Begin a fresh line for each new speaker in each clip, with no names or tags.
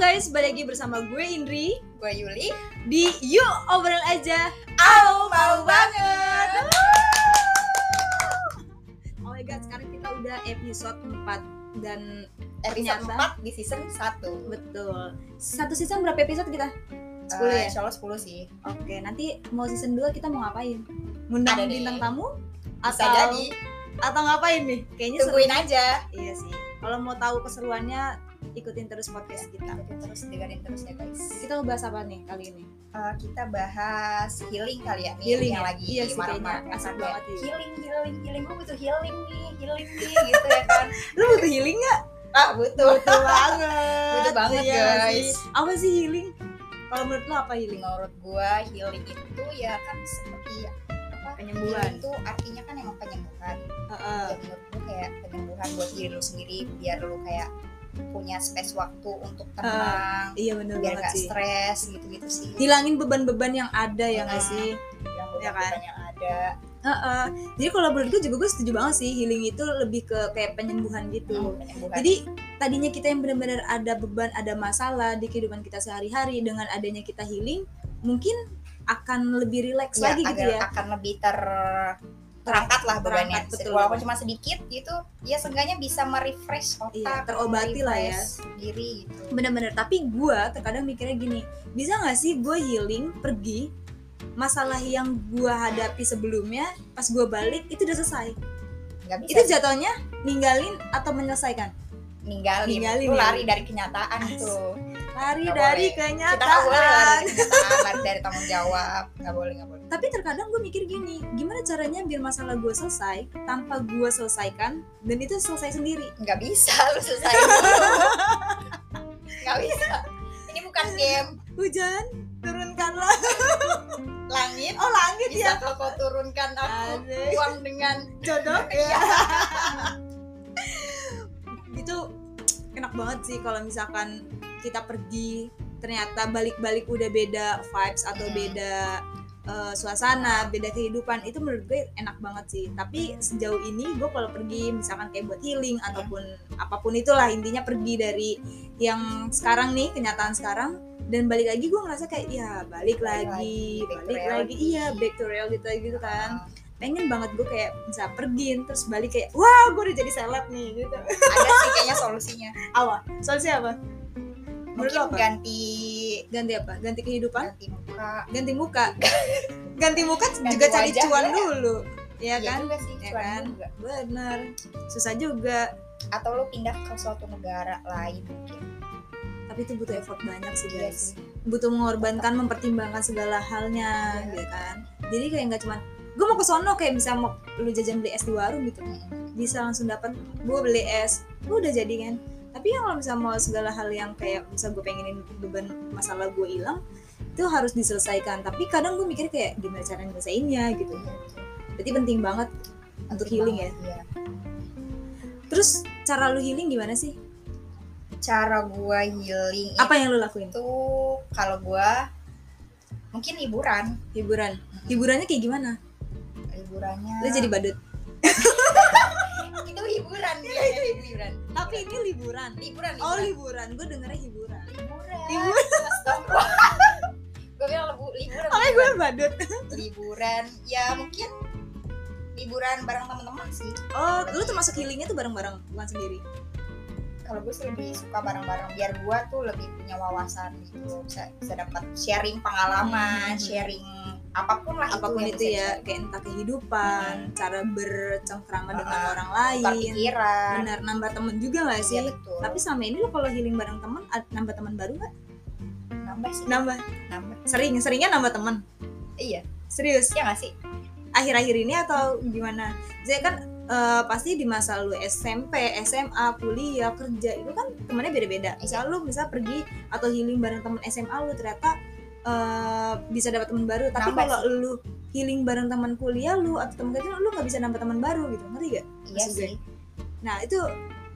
guys, balik lagi bersama gue Indri
Gue Yuli
di Yuk Obrol Aja.
Au, mau banget
Oh my god, sekarang kita udah episode 4 dan
Episode
Ternyata.
4 di season 1
betul. Satu season berapa episode kita? 10 ya?
Eh, Insya Allah 10 sih
Oke, nanti mau season 2 kita mau ngapain? Ngundang
Ada nih.
bintang tamu?
Bisa
atau,
jadi ya.
atau ngapain nih? Kayaknya seru.
Tungguin aja
Iya sih. Kalau mau tahu keseruannya ikutin terus podcast
Kita
kita.
terus, dengerin terus ya guys
Kita ngebahas apa nih kali ini?
Eh, Kita bahas healing kali ya nih
Healing
yang
ya?
lagi
Iya sih,
marah-marah
kayaknya asik
kan, kayak,
banget iya. sih.
Healing, healing, healing Gue butuh healing nih, healing nih gitu ya kan
Lu butuh healing nggak?
Ah butuh
Butuh banget.
Butuh banget,
Iya nggak
guys.
sih? Apa sih healing? Kalau menurut lu apa healing?
menurut gua healing itu ya kan seperti apa
Penyembuhan.
healing itu artinya kan emang penyembuhan
Heeh.
ya menurut gua kayak penyembuhan buat diri lu sendiri biar lu kayak punya space waktu untuk tenang
Iya bener Eh, banget
biar nggak
sih. Iya
stres gitu-gitu sih
Hilangin beban-beban yang ada ya nggak
Ah.
sih?
yang
ya
udah
kan?
banyak ada
Heeh. Jadi kalau menurut gue juga gue setuju banget sih healing itu lebih ke kayak penyembuhan gitu.
penyembuhan
Jadi tadinya kita yang benar-benar ada beban, ada masalah di kehidupan kita sehari-hari dengan adanya kita healing, mungkin akan lebih rileks
Ya,
lagi gitu
agar
ya.
akan lebih ter terangkat lah bebannya
Terangkat, betul.
walaupun cuma sedikit gitu ya seenggaknya bisa merefresh otak
Iya, terobati lah ya.
merefresh diri gitu
Bener-bener. Tapi gue terkadang mikirnya gini, bisa nggak sih gue healing pergi masalah yang gue hadapi sebelumnya pas gue balik itu udah selesai.
nggak bisa
Itu jatuhnya ninggalin atau menyelesaikan.
ninggalin,
ninggalin
lu
ya.
lari dari kenyataan tuh
Lari
Nggak
dari
boleh. kita nggak boleh lari
kenyataan.
dari kenyataan lari dari tanggung jawab nggak boleh nggak boleh
Tapi terkadang gue mikir gini, gimana caranya biar masalah gue selesai tanpa gue selesaikan dan itu selesai sendiri.
nggak bisa lu selesai dulu nggak bisa ini bukan game
Hujan, turunkanlah.
langit
Oh langit ya. Ah.
bisa kalau kau turunkan aku
Aduh,
buang dengan
jodoh ya. itu enak banget sih kalau misalkan kita pergi ternyata balik-balik udah beda vibes atau
Hmm.
beda eh, suasana, beda kehidupan itu menurut gue enak banget sih. Tapi sejauh ini gue kalau pergi misalkan kayak buat healing
Hmm.
ataupun apapun itulah intinya pergi dari yang sekarang nih kenyataan sekarang dan balik lagi gue ngerasa kayak ya balik,
Balik
lagi,
lagi, back to Ah.
balik lagi,
reality.
iya back to real gitu gitu kan. pengen banget gue kayak bisa pergi terus balik kayak wah gue udah jadi seleb nih gitu
ada sih kayaknya solusinya
awal solusi apa menurut lo
mungkin
apa
ganti
ganti apa ganti kehidupan
ganti muka
ganti muka ganti muka
Ganti
juga cari
wajah
cuan
ya.
dulu ya
Iya
kan
juga sih
Ya
cuan
kan?
juga.
bener susah juga
atau lu pindah ke suatu negara lain mungkin
tapi itu butuh effort banyak sih
Iya
guys
sih.
butuh mengorbankan mempertimbangkan segala halnya gitu kan jadi kayak nggak cuman gue mau ke sono kayak bisa mau lu jajan beli es di warung gitu
Mm.
bisa langsung dapat gue beli es lu udah jadi kan tapi yang kalau bisa mau segala hal yang kayak bisa gue pengenin beban masalah gue hilang itu harus diselesaikan tapi kadang gue mikir kayak gimana cara nyelesainnya gitu
Iya.
berarti penting banget untuk healing ya
Iya.
terus cara lu healing gimana sih
cara gua healing
apa yang lu lakuin
itu kalau gua mungkin liburan
hiburan hiburannya kayak gimana
liburannya
lu jadi badut
itu hiburan dia liburan
Iya, tapi ini liburan
liburan
Oh
liburan
liburan, gue dengernya hiburan.
liburan gue bilang lebu- liburan
Soalnya gue badut.
liburan ya mungkin liburan bareng teman-teman sih
Oh, lu termasuk healingnya tuh bareng-bareng, bukan sendiri.
Iya, kalau gue sih lebih suka bareng-bareng biar gue tuh lebih punya wawasan gitu loh. bisa bisa dapat sharing
Hmm.
pengalaman sharing apapun lah
Apapun
yang
itu
bisa
ya, kayak entah kehidupan, cara bercengkrama dengan orang lain,
Iya. tukar pikiran
benar nambah temen juga gak
ya
Iya, sih?
betul
Tapi selama ini lu kalau healing bareng temen, ad- nambah teman baru gak?
nambah sih
Nambah,
nambah
sering, seringnya nambah temen.
iya
Serius,
iya gak sih
akhir-akhir ini atau gimana? Jadi kan eh, pasti di masa lu SMP, SMA, kuliah, kerja itu kan temennya beda-beda. Misal lu bisa pergi atau healing bareng temen SMA lu ternyata eh, bisa dapat teman baru. Tapi
Nambah
kalau lu healing bareng teman kuliah lu atau teman kerja lu nggak bisa nambah teman baru gitu, ngerti gak?
iya
Maksud gue.
sih
Nah itu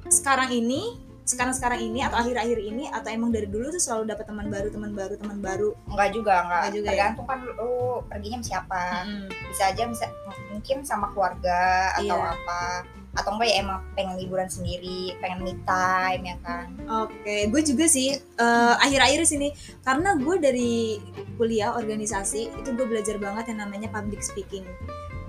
sekarang ini sekarang sekarang ini atau akhir-akhir ini atau emang dari dulu tuh selalu dapat teman baru teman baru teman baru
Enggak juga, enggak.
Nggak juga ya?
Tergantung kan lu perginya sama siapa.
Mm.
Bisa aja bisa mungkin sama keluarga atau
Iya.
apa. atau enggak ya emang pengen liburan sendiri pengen me time ya kan
Oke, gue juga sih eh, akhir-akhir sini karena gue dari kuliah organisasi itu gue belajar banget yang namanya public speaking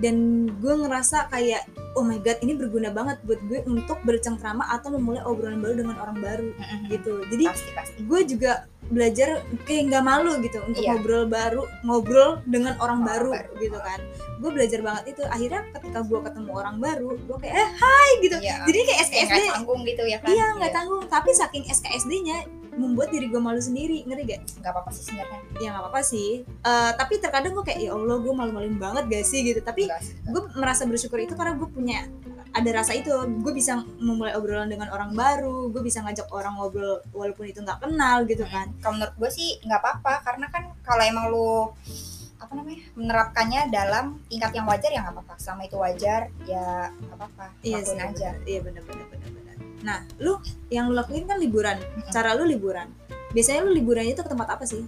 dan gue ngerasa kayak oh my god ini berguna banget buat gue untuk bercengkrama atau memulai obrolan baru dengan orang baru gitu. Jadi
pasti pasti
gue juga belajar kayak nggak malu gitu untuk
Iya.
ngobrol baru ngobrol dengan orang
Orang
baru,
baru.
gitu kan. Gue belajar banget itu akhirnya ketika gue ketemu orang baru gue kayak eh hai gitu.
Iya.
Jadi kayak
kayak
SKSD
nggak tanggung gitu ya kan
Iya nggak tanggung, tapi saking SKSD-nya membuat diri gue malu sendiri, ngeri gak?
nggak apa-apa sih sebenarnya
Ya nggak apa-apa sih. Eh, tapi terkadang gue kayak ya Allah gue malu-maluin banget gak sih gitu. Tapi
Nggak sih.
gue merasa bersyukur itu karena gue punya ada rasa itu, gue bisa memulai obrolan dengan orang baru, gue bisa ngajak orang ngobrol walaupun itu nggak kenal gitu kan.
kalau menurut gue sih nggak apa-apa karena kan kalau emang lu apa namanya menerapkannya dalam tingkat yang wajar ya nggak apa-apa selama itu wajar ya nggak apa-apa
Iya sih.
lakuin aja
bener. Iya benar-benar benar-benar. Nah, lu yang lu lakuin kan liburan,
Mm-mm.
cara lu liburan. Biasanya lu liburannya itu ke tempat apa sih?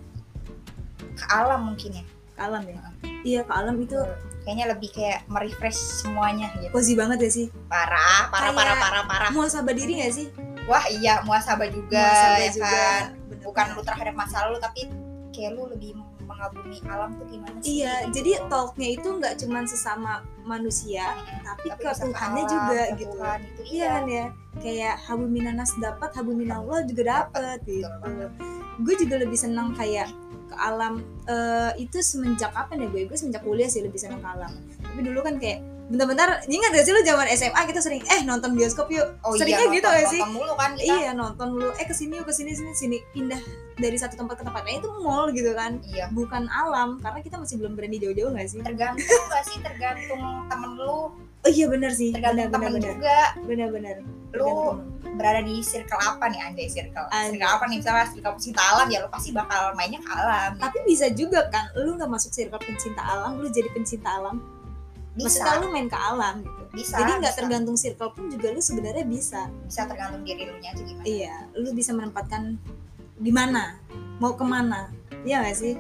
ke alam mungkin ya
Ke alam ya? Iya ke alam itu
kayaknya lebih kayak merefresh semuanya gitu
cozy banget ya sih.
parah
Kayak-
parah parah parah parah
Muasabah diri gak sih?
wah iya muasabah juga
Muasabah
ya
juga,
kan
bener-bener.
bukan lu terhadap masa lalu tapi kayak lu lebih mengagumi alam tuh gimana sih Gitu.
Iya, jadi talknya itu nggak cuman sesama manusia, tapi, ke
Tapi bisa
Tuhannya
alam,
juga
ke
gitu.
Tuhan, itu
Iya
iya
kan ya, kayak habu minanas dapat, habu minallah juga dapat gitu.
Betul banget.
Gue juga lebih senang kayak ke alam eh, itu semenjak apa nih gue? Gue semenjak kuliah sih lebih senang ke alam. Tapi dulu kan kayak bentar-bentar, ingat gak sih lu zaman SMA kita sering eh nonton bioskop yuk.
oh iya
Seringnya gitu
nonton-
gak sih?
nonton mulu kan kita
Iya nonton lu eh kesini yuk kesini sini sini pindah dari satu tempat ke tempat lain itu mall gitu kan
iya
bukan alam karena kita masih belum berani jauh-jauh nggak sih?
tergantung gak sih tergantung temen lu
Oh iya benar sih. Benar
tergantung temen
benar benar.
juga
Benar benar.
Lu- berada di circle apa nih anjay circle
Anjay.
circle apa nih misalnya circle pecinta alam ya lu pasti bakal mainnya ke alam
tapi bisa juga kan lu nggak masuk circle pencinta alam, lu jadi pencinta alam.
bisa
Maksudnya lu main ke alam gitu.
bisa
jadi nggak
bisa.
tergantung circle pun juga lu sebenarnya bisa.
bisa tergantung diri lu nya aja gimana
Iya, lu bisa menempatkan di mana, mau kemana, ya nggak sih?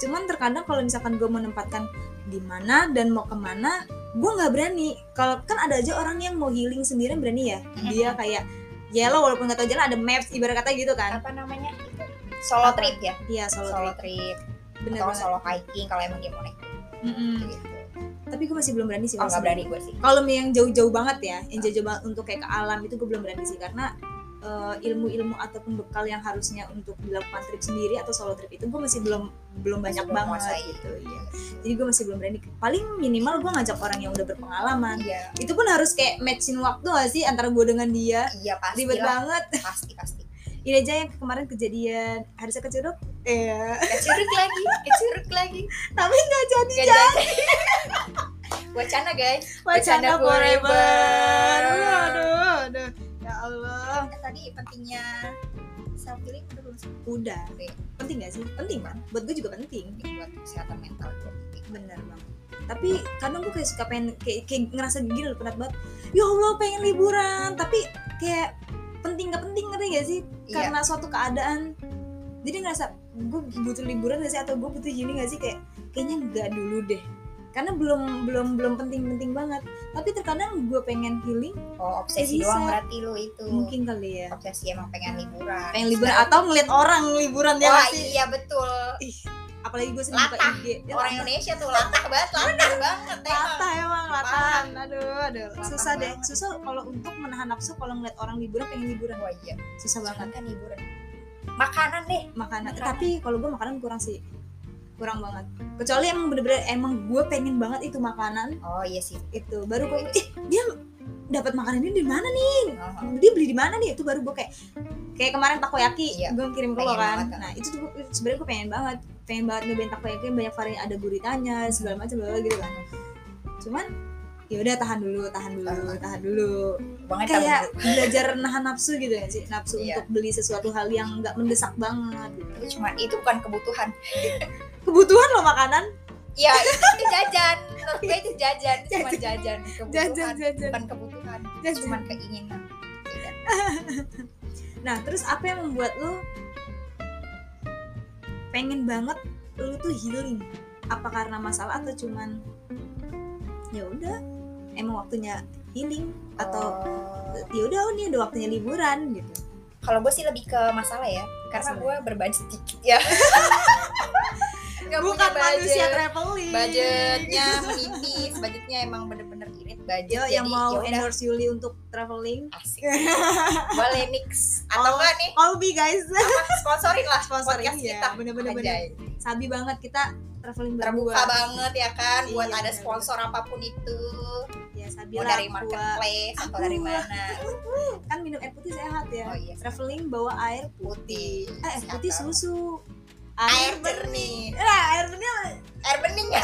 Cuman terkadang kalau misalkan gue menempatkan di mana dan mau kemana, gue nggak berani. Kalau kan ada aja orang yang mau healing sendiri berani ya, dia kayak ya lo walaupun nggak tahu jalan ada maps ibarat kata gitu kan.
apa namanya itu solo
Apa?
trip ya
Iya solo,
solo
trip.
trip
bener
atau
banget.
solo hiking kalau emang dia mau naik
Mm-mm.
gitu
Tapi gue masih belum berani sih.
oh nggak
maksudnya.
berani gue sih
Kalau yang jauh-jauh banget ya, yang jauh-jauh banget untuk kayak ke alam itu gue belum berani sih karena eh, ilmu-ilmu ataupun bekal yang harusnya untuk dilakukan trip sendiri atau solo trip itu gue masih belum belum banyak
belum
banget
menguasai.
gitu. Iya. Jadi gue masih belum berani. Paling minimal gue ngajak orang yang udah berpengalaman.
iya
Itu pun harus kayak matchin waktu gak sih antara gue dengan dia.
iya pasti
Ribet
lah
banget.
pasti pasti
Ini aja yang kemarin kejadian harusnya ke Curug. Eh,
kecuruk lagi kecuruk lagi
tapi nggak jadi.
Gak jadi wacana guys Bercanda
Wacana forever.
forever.
Aduh, aduh. Ya Allah.
Oh, tadi pentingnya self healing udah belum sih?
Udah.
Oke.
Penting gak sih? Penting kan? Buat gue juga penting.
buat kesehatan mental gue
bener banget tapi kadang gue kayak suka pengen kayak, kayak ngerasa gini loh penat banget ya allah pengen liburan tapi kayak penting gak penting ngerti gak sih
iya
karena suatu keadaan jadi ngerasa gue butuh liburan gak sih atau gue butuh healing gak sih kayak kayaknya enggak dulu deh karena belum belum belum penting-penting banget tapi terkadang gue pengen healing
oh obsesi
bisa.
doang berarti lu itu
mungkin kali ya
obsesi emang pengen liburan
pengen liburan atau ngeliat orang liburan ya gak
Wah
sih?
iya betul
apalagi gue sering buka
Latah.
IG Ya,
orang Indonesia tuh latah banget latah banget emang
latah emang latahan aduh aduh
Latah
susah deh
banget.
susah kalau untuk menahan nafsu kalau ngeliat orang liburan pengen liburan
Wah iya
susah banget
kan liburan makanan deh
makanan
Makanan.
tapi kalau gue makanan kurang sih kurang banget kecuali emang bener-bener emang gue pengen banget itu makanan
oh iya sih
itu baru gue ih dia dapat makanan ini di mana nih
Oh,
dia beli di mana nih itu baru gue kayak kayak kemarin takoyaki
Iya,
gue kirim ke lo
pengen
kan
banget.
nah itu tuh gua- sebenarnya gue pengen banget pengen banget nyobain takoyaki yang banyak varian ada guritanya segala macam bla bla bla gitu kan cuman ya udah tahan dulu tahan dulu
Tahan.
tahan dulu
banget
kayak belajar nahan nafsu gitu ya sih nafsu
Iya.
untuk beli sesuatu hal yang nggak mendesak banget gitu.
itu cuma itu bukan kebutuhan
kebutuhan loh makanan
ya itu itu jajan menurut gue itu jajan itu cuma jajan kebutuhan
jajan jajan
bukan kebutuhan
jajan
cuma keinginan Iya.
nah terus apa yang membuat lo pengen banget lo tuh healing apa karena masalah atau cuman ya udah emang waktunya healing atau
Oh.
ya udah oh, ini udah waktunya liburan gitu
kalau gue sih lebih ke masalah ya karena
Masalah.
gue berbudget dikit ya Nggak punya
bukan manusia
budget.
traveling
budgetnya menipis budgetnya emang bener-bener irit budget
Yo, yang
jadi ya
mau
yaudah,
endorse Yuli untuk traveling
asik boleh mix atau
Oh.
enggak nih
call me guys
apa, sponsorin lah
Sponsorin,
podcast
iya.
kita
Bener-bener,
Anjay.
sabi banget kita traveling berdua
terbuka banget ya kan buat
Iya,
ada
bener.
sponsor apapun itu
ya sabi
mau
lah
dari
gua.
marketplace atau dari
Aqua.
mana
kan minum air putih sehat ya
oh iya
traveling bawa air
putih
eh air putih
Siapa?
susu
air
bening.
jernih
Eh, air bening
air bening ya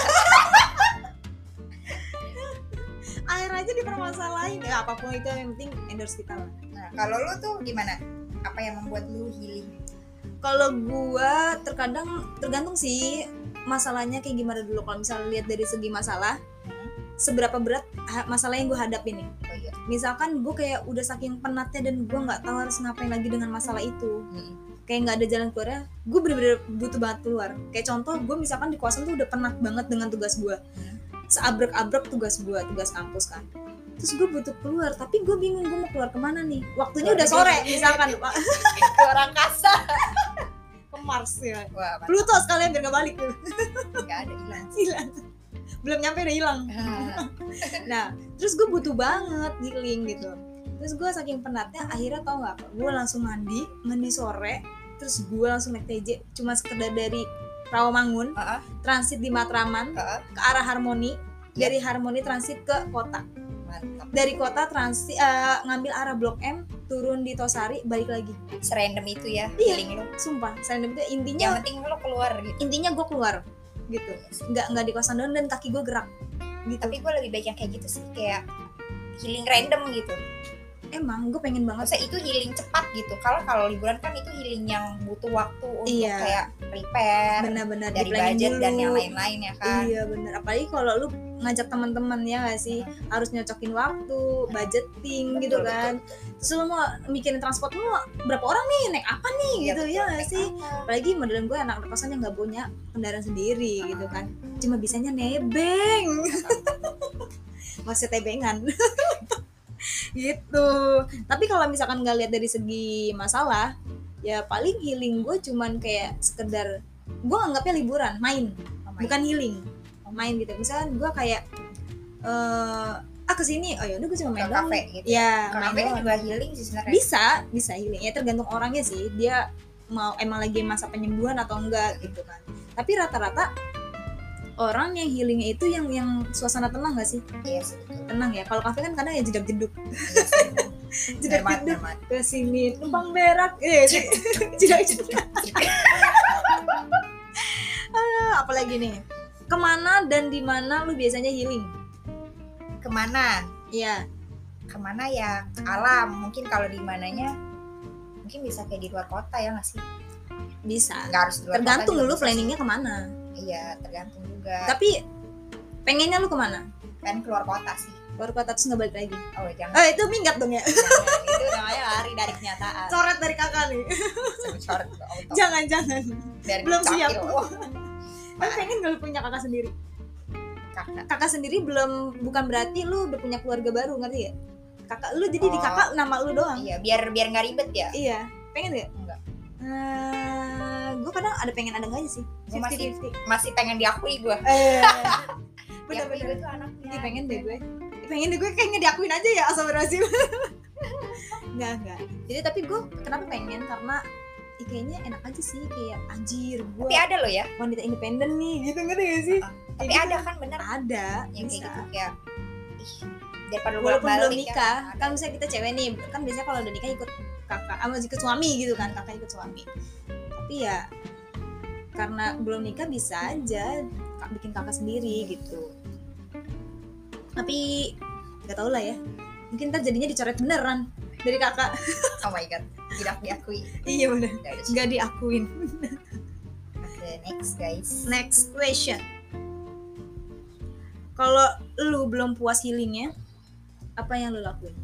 air aja dipermasalahin ya apapun itu yang penting endorse kita lah
nah kalau lu tuh gimana apa yang membuat lu healing
kalau gua terkadang tergantung sih masalahnya kayak gimana dulu kalau misalnya lihat dari segi masalah seberapa berat ha- masalah yang gua hadapi nih
oh iya
misalkan gua kayak udah saking penatnya dan gua nggak tahu harus ngapain lagi dengan masalah itu
Hmm.
kayak nggak ada jalan keluarnya gue bener-bener butuh banget keluar kayak contoh gue misalkan di kosan tuh udah penat banget dengan tugas gua seabrek-abrek tugas gua tugas kampus kan terus gue butuh keluar tapi gue bingung gue mau keluar kemana nih waktunya
Keluar
udah sore
negeri.
misalkan Wah,
ke orang kasar
ke Mars ya
wah mantap.
Pluto sekalian biar gak balik
nggak ada hilang
hilang belum nyampe udah hilang nah terus gue butuh banget healing gitu terus gue saking penatnya akhirnya tau gak gue langsung mandi mandi sore terus gue langsung naik TJ cuma sekedar dari Rawamangun
Ah, ah.
transit di Matraman
Ah, ah.
ke arah Harmoni
Ya.
dari Harmoni transit ke kota
mantap
dari kota transit eh, ngambil arah Blok M turun di Tosari balik lagi
serandom itu ya
Iya.
healing lu
sumpah saya demi-
yang
intinya
penting lu keluar gitu
intinya gue keluar gitu nggak nggak di kosan doang dan kaki gue gerak gitu
tapi gue lebih baik yang kayak gitu sih kayak healing random gitu
emang gue pengen banget
maksudnya itu healing cepat gitu kalau kalau liburan kan itu healing yang butuh waktu untuk
Iya.
kayak prepare
benar-benar
dari
di-planning
budget dan
dulu.
yang lain-lain ya kan
iya benar apalagi kalau lu ngajak teman-teman ya gak sih harus nyocokin waktu budgeting
Betul,
gitu
betul,
kan terus lu mau mikirin transport lu mau berapa orang nih naik apa nih
Iya,
gitu
betul.
ya gak
Naik
sih
angkot.
apalagi modelan gue anak anak kosan yang nggak punya kendaraan sendiri gitu kan cuma bisanya nebeng masih tebengan gitu tapi kalau misalkan nggak lihat dari segi masalah ya paling healing gue cuman kayak sekedar gue anggapnya liburan main
Oh my
bukan healing main gitu misalnya gue kayak eh ah kesini oh yaudah gue cuma
God.
main
ke
doang
kafe gitu
ya
ke
main
kafe kan
doang.
juga healing sih sebenarnya
bisa bisa healing ya tergantung orangnya sih dia mau emang lagi masa penyembuhan atau enggak gitu kan tapi rata-rata orang yang healingnya itu yang yang suasana tenang gak sih
iya sih betul.
tenang ya kalau kafe kan kadang ya jedak jeduk
Iya sih.
jedak
Bener banget,
jeduk
bener banget.
ke sini numpang berak eh jedak jeduk Ah, apalagi nih kemana dan di mana lu biasanya healing
kemana
Iya,
kemana ya Ke alam mungkin kalau di mananya mungkin bisa kayak di luar kota ya nggak sih
bisa.
nggak harus di luar
Tergantung
kota juga
lu
bisa
planningnya kemana.
sih. iya tergantung juga
Tapi pengennya lu kemana?
kan keluar kota sih
Baru kota terus nggak balik lagi.
oh jangan,
Oh itu minggat dong ya.
jangan. itu namanya lari dari kenyataan
Coret dari kakak nih.
Sebentar, auto.
Jangan-jangan.
Biar Oh,
Belum
dicapil.
siap.
Wah,
Tapi pengen gak lu punya kakak sendiri?
kakak.
Kakak sendiri belum bukan berarti lu udah punya keluarga baru ngerti ya? Kakak lu jadi di
Oh.
kakak nama lu doang.
Iya, biar biar nggak ribet ya.
Iya. Pengen gak?
Enggak.
gue kadang ada pengen ada nggak aja sih.
Gua masih-
50-50.
Masih pengen diakui gue.
Eh,
Diakui gue
bener-bener.
tuh anaknya.
Ih, pengen deh gue Ih, pengen deh gue kayaknya diakuin aja ya asal berhasil nggak nggak jadi tapi gue kenapa pengen karena ih, kayaknya enak aja sih kayak anjir gue
Tapi ada loh ya.
wanita independen nih gitu ngerti gak sih
Tapi
gitu.
ada kan bener
ada
yang kayak
bisa
gitu kayak ih, daripada lu
walaupun
bolak-balik
belum
ya.
nikah kan misalnya kita cewek nih kan biasanya kalau udah nikah ikut kakak sama ikut suami gitu kan kakak ikut suami tapi ya karena belum nikah bisa aja kak- bikin kakak sendiri gitu tapi nggak tau lah ya mungkin ntar jadinya dicoret beneran dari kakak
Oh my god, tidak diakui.
iya bener
Udah, udah.
nggak diakuin
Oke, next guys.
next question kalau lu belum puas healingnya apa yang lu lakuin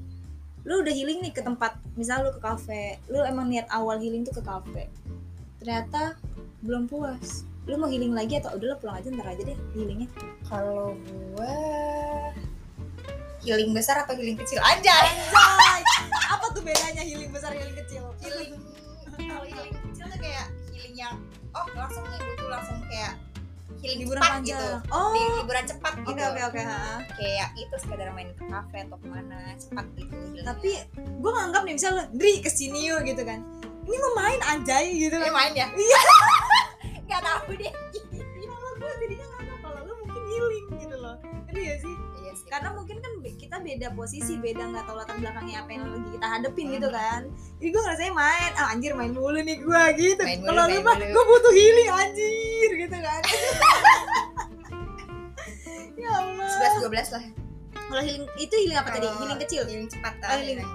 lu udah healing nih ke tempat misal lu ke kafe lu emang niat awal healing tuh ke kafe ternyata belum puas lu mau healing lagi atau udah lu pulang aja ntar aja deh healingnya
Kalau gue healing besar atau healing kecil aja
Anjay. Apa tuh bedanya healing besar healing kecil?
healing kalau healing kecil tuh kayak healing yang oh langsung nih butuh langsung kayak healing
liburan
cepat
panjang.
gitu Li-
Oh.
liburan cepat gitu
Oke oke oke. ha.
kayak itu sekedar main ke kafe atau kemana cepat gitu healingnya.
Tapi gue nganggap nih misalnya Dri kesini yuk gitu kan. Ini mau main anjay gitu kan.
Ini main ya
Iya.
nggak tahu deh ya
Kalau gue jadinya nganggap kalau lu mungkin healing gitu loh. Ngerti gak sih?
iya sih
karena mungkin kan be- kita beda posisi beda nggak tahu latar belakangnya apa yang lagi kita hadepin gitu
Iya.
kan jadi gue ngerasanya main ah anjir main mulu nih gue gitu
Main mulu,
kalau lu
main
mah
mulu.
gue butuh healing anjir gitu kan ya Allah
11 12 lah
kalau healing itu healing apa tadi
Kalau iya.
healing kecil
healing cepat
Oh,
lah
healing.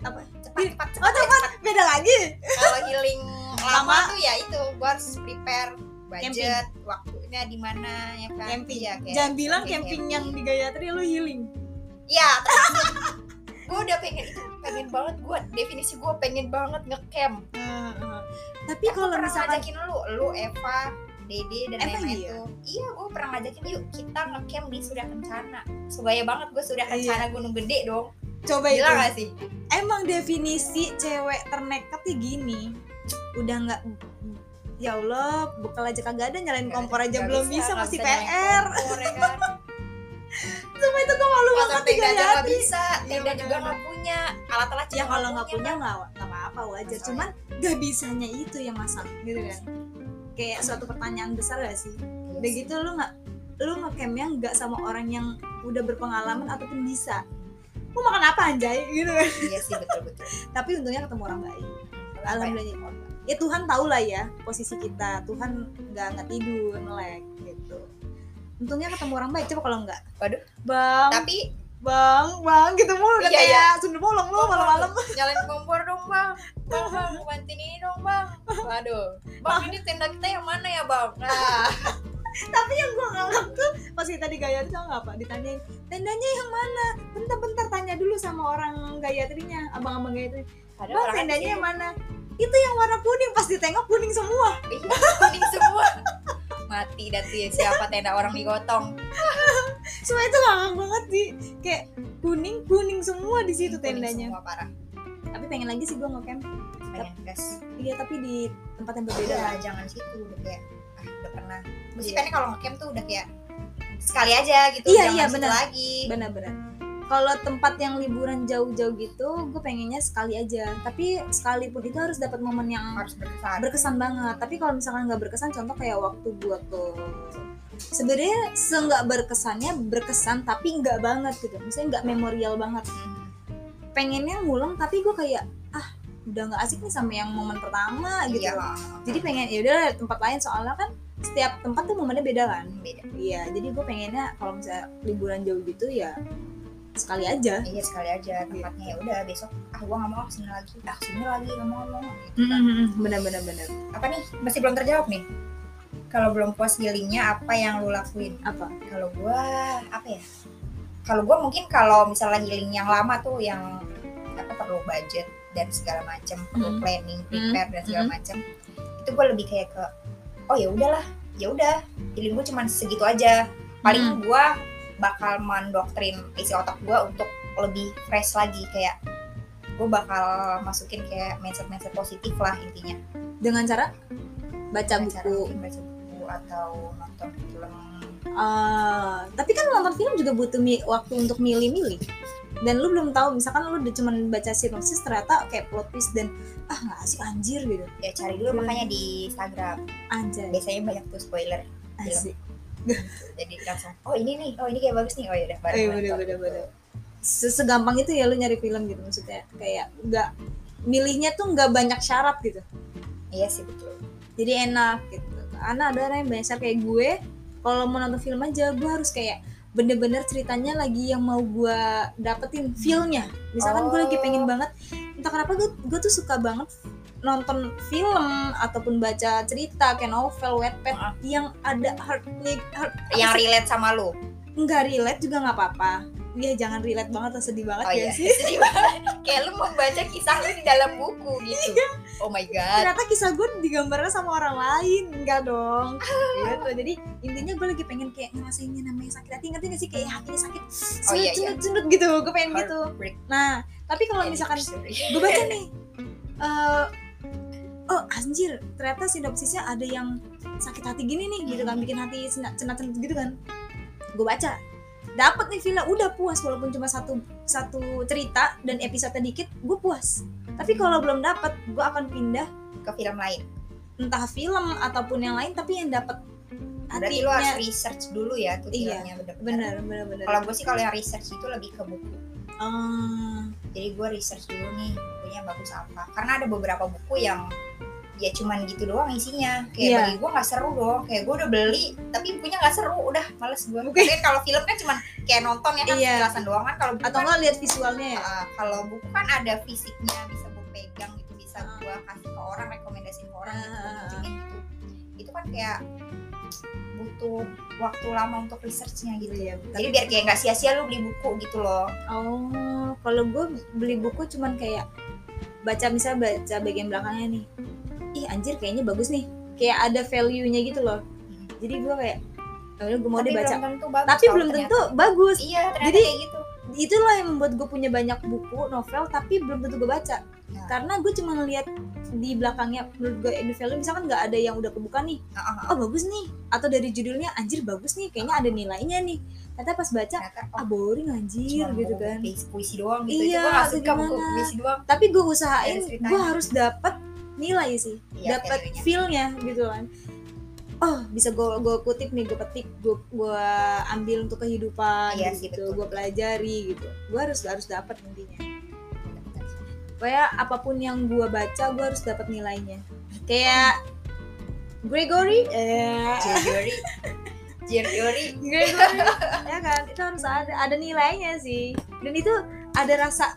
apa
cepat cepat cepat
oh cepat beda lagi
kalau healing lama
Lama.
tuh ya itu gua harus prepare budget waktunya di mana ya kan
Camping.
ya kayak
jangan bilang camping yang di Gayatri lu healing
ya gue udah pengen itu pengen banget gue definisi gue pengen banget ngecamp
tapi
Aku
kalau
pernah
misalkan
ngajakin lu lu Eva Dede dan
Emang
lain-lain
iya?
tuh iya gue pernah ngajakin yuk kita ngecamp di sudah kencana sebaya banget gue sudah kencana gunung gede dong
coba Iya. itu
gila gak sih
emang definisi cewek ternekat ya gini udah nggak ya Allah bekal aja kagak ada nyalain kompor aja
Gak
belum bisa,
gak
masih
nyalain
PR
kompor, ya kan?
cuma itu gue malu
Pasang
banget
tenda
tinggal
aja nggak
hati
bisa tenda
bener-bener.
juga nggak punya alat-alat
ya
juga
kalau nggak punya nggak nggak apa-apa wajar
Masalah.
cuman gak bisanya itu yang masalah gitu kan kayak suatu pertanyaan besar gak sih
Iya
udah
sih.
gitu lu nggak lu ngecampnya nggak sama orang yang udah berpengalaman ataupun bisa lu makan apa anjay gitu kan
iya sih betul betul
tapi untungnya ketemu orang baik
Alhamdulillah
alhamdulillah ya Tuhan tahu lah ya posisi kita Tuhan nggak nggak tidur melek gitu untungnya ketemu orang baik coba kalau nggak
Waduh.
bang
tapi
bang bang gitu mulu udah
Iya,
kayak
iya.
sundel bolong lu Oh, malam-malam
nyalain kompor dong bang bang bang mau bantuin ini dong bang waduh bang ini tenda kita yang mana ya bang nah
tapi yang gue nganggap tuh pas kita di Gayatri tau nggak apa ditanyain tendanya yang mana bentar-bentar tanya dulu sama orang Gayatrinya abang-abang Gayatri
ada
bang tendanya yang mana itu yang warna kuning pas ditengok kuning semua
kuning semua mati dah tuh ya siapa tenda orang digotong
semua itu ngakak banget sih kayak kuning kuning semua di situ
Kuning
tendanya
semua parah
tapi pengen lagi sih gue ngecamp
pengen gas
Iya tapi di tempat yang berbeda kan?
udah Ya, jangan situ udah kayak ah udah pernah gue sih
Iya.
pengen kalau ngecamp tuh udah kayak sekali aja gitu
Iya,
jangan
iya,
situ
benar.
lagi
Benar-benar. Kalau tempat yang liburan jauh-jauh gitu, gue pengennya sekali aja. Tapi sekalipun itu harus dapat momen yang
harus berkesan
berkesan banget. Tapi kalau misalkan nggak berkesan, contoh kayak waktu gue ke sebenarnya seenggak berkesannya berkesan tapi nggak banget gitu misalnya nggak memorial banget
Hmm,
pengennya ngulang tapi gue kayak ah udah nggak asik nih sama yang momen pertama gitu
iya lah
jadi pengen ya udah tempat lain soalnya kan setiap tempat tuh momennya beda kan
beda
Iya, jadi gue pengennya kalau misalnya liburan jauh gitu ya sekali aja.
iya sekali aja tempatnya ya udah besok ah gua nggak mau ah, sini lagi ah sini lagi nggak mau ngomong gitu kan.
Bener-bener bener.
apa nih masih belum terjawab nih kalau belum puas healingnya apa yang lu lakuin
Apa?
kalau gua apa ya kalau gua mungkin kalau misalnya healing yang lama tuh yang apa perlu budget dan segala macam perlu
Mm.
planning prepare dan segala
Mm.
macam itu gua lebih kayak ke oh ya udahlah ya udah healing gua cuman segitu aja paling gua bakal mendoktrin isi otak gua untuk lebih fresh lagi kayak gue bakal masukin kayak mindset-mindset positif lah intinya
Dengan cara baca
Dengan cara
buku.
mungkin baca buku atau nonton film
Ah, tapi kan nonton film juga butuh mi- waktu untuk milih-milih. Dan lu belum tahu, misalkan lu udah cuman baca sinopsis ternyata kayak plot twist dan ah nggak asik anjir gitu.
ya cari dulu makanya di Instagram
Anjay,
biasanya banyak tuh spoiler
asik.
jadi langsung oh ini nih oh ini kayak bagus nih oh ya udah baru
Eh,
nonton
bener-bener,
gitu.
bener. Se- Segampang itu ya lu nyari film gitu maksudnya kayak nggak milihnya tuh nggak banyak syarat gitu.
iya sih betul
jadi enak gitu karena ada orang yang biasa kayak gue kalau mau nonton film aja gue harus kayak bener-bener ceritanya lagi yang mau gue dapetin feelnya misalkan gue lagi
Oh.
pengen banget entah kenapa gue gue tuh suka banget nonton film ataupun baca cerita kayak novel wetpad
Ah.
yang ada heartnya heart apa
yang
sih?
relate sama lu
nggak relate juga nggak apa-apa ya jangan relate banget atau sedih banget
Oh
ya
iya,
sih
sedih banget. Kayak lu membaca kisah lu di dalam buku gitu.
Iya.
Oh my god.
ternyata kisah gue digambarnya sama orang lain enggak dong gitu jadi intinya gue lagi pengen kayak ngerasain yang namanya sakit hati ngerti gak sih kayak hatinya sakit
Oh, iya,
cendut cendut cendut gitu gue pengen gitu
Heartbreak
nah tapi kalau misalkan
anniversary.
gue baca nih eh, oh anjir ternyata sinopsisnya ada yang sakit hati gini nih gitu kan bikin hati cenat-cenat gitu kan gue baca dapat nih villa udah puas walaupun cuma satu satu cerita dan episode dikit gue puas tapi kalau belum dapat gue akan pindah
ke film lain.
entah film ataupun yang lain tapi yang dapat
Berarti lu harus
hatinya
research dulu ya tuh
Iya,
filmnya bener-bener.
bener bener bener
Kalau gue sih kalau yang research itu lebih ke buku.
Ah,
Jadi gue research dulu nih bukunya bagus apa. Karena ada beberapa buku yang ya cuman gitu doang isinya. Kayak
Iya.
bagi gue nggak seru dong. Kayak gue udah beli tapi bukunya nggak seru. Udah males gue.
Buku-
Mungkin kalau film kan cuman kayak nonton ya kan
Iya.
penjelasan doang kan. Kalau buku
atau
kan
enggak lihat visualnya ya
Uh, kalau buku kan ada fisiknya bisa gue pegang gitu bisa
Ah.
gue kasih ke orang rekomendasi ke orang gitu,
Ah.
pinjemin gitu itu kan kayak butuh waktu lama untuk researchnya gitu
Iya, betul.
jadi biar kayak nggak sia-sia lu beli buku gitu loh
Oh, kalau gue beli buku cuman kayak baca misalnya baca bagian belakangnya nih. Ih anjir kayaknya bagus nih. Kayak ada value-nya gitu loh. Jadi gue kayak "Ya udah gue mau
tapi
deh baca.
belum tentu bagus
Tapi
tau
belum
ternyata.
tentu bagus.
iya ternyata
Jadi-
kayak gitu
Itulah yang membuat gue punya banyak buku novel tapi belum tentu gue baca.
Ya.
Karena gue cuma ngeliat di belakangnya menurut gue ini value misalkan nggak ada yang udah kebuka nih.
Ah, ah, ah.
Oh bagus nih. Atau dari judulnya anjir bagus nih. Kayaknya ada nilainya nih. Ternyata pas baca
ternyata oh,
ah boring anjir
cuma
gitu
buku
kan.
puisi, puisi doang gitu
Iya,
itu gue nggak
atau
suka buku
gimana.
puisi doang
tapi gue usahain
Dari Iya, ceritanya.
gue harus dapat nilai sih
Iya,
dapat
value-nya.
feelnya gitu kan oh bisa gue gue kutip nih gue petik gue gue ambil untuk kehidupan
Iya sih,
gitu
betul.
gue pelajari gitu gue harus harus dapat intinya kayak apapun yang gue baca gue harus dapat nilainya kayak Gregory eh
Jerry Jerry
Gregory ya kan itu harus ada ada nilainya sih dan itu ada rasa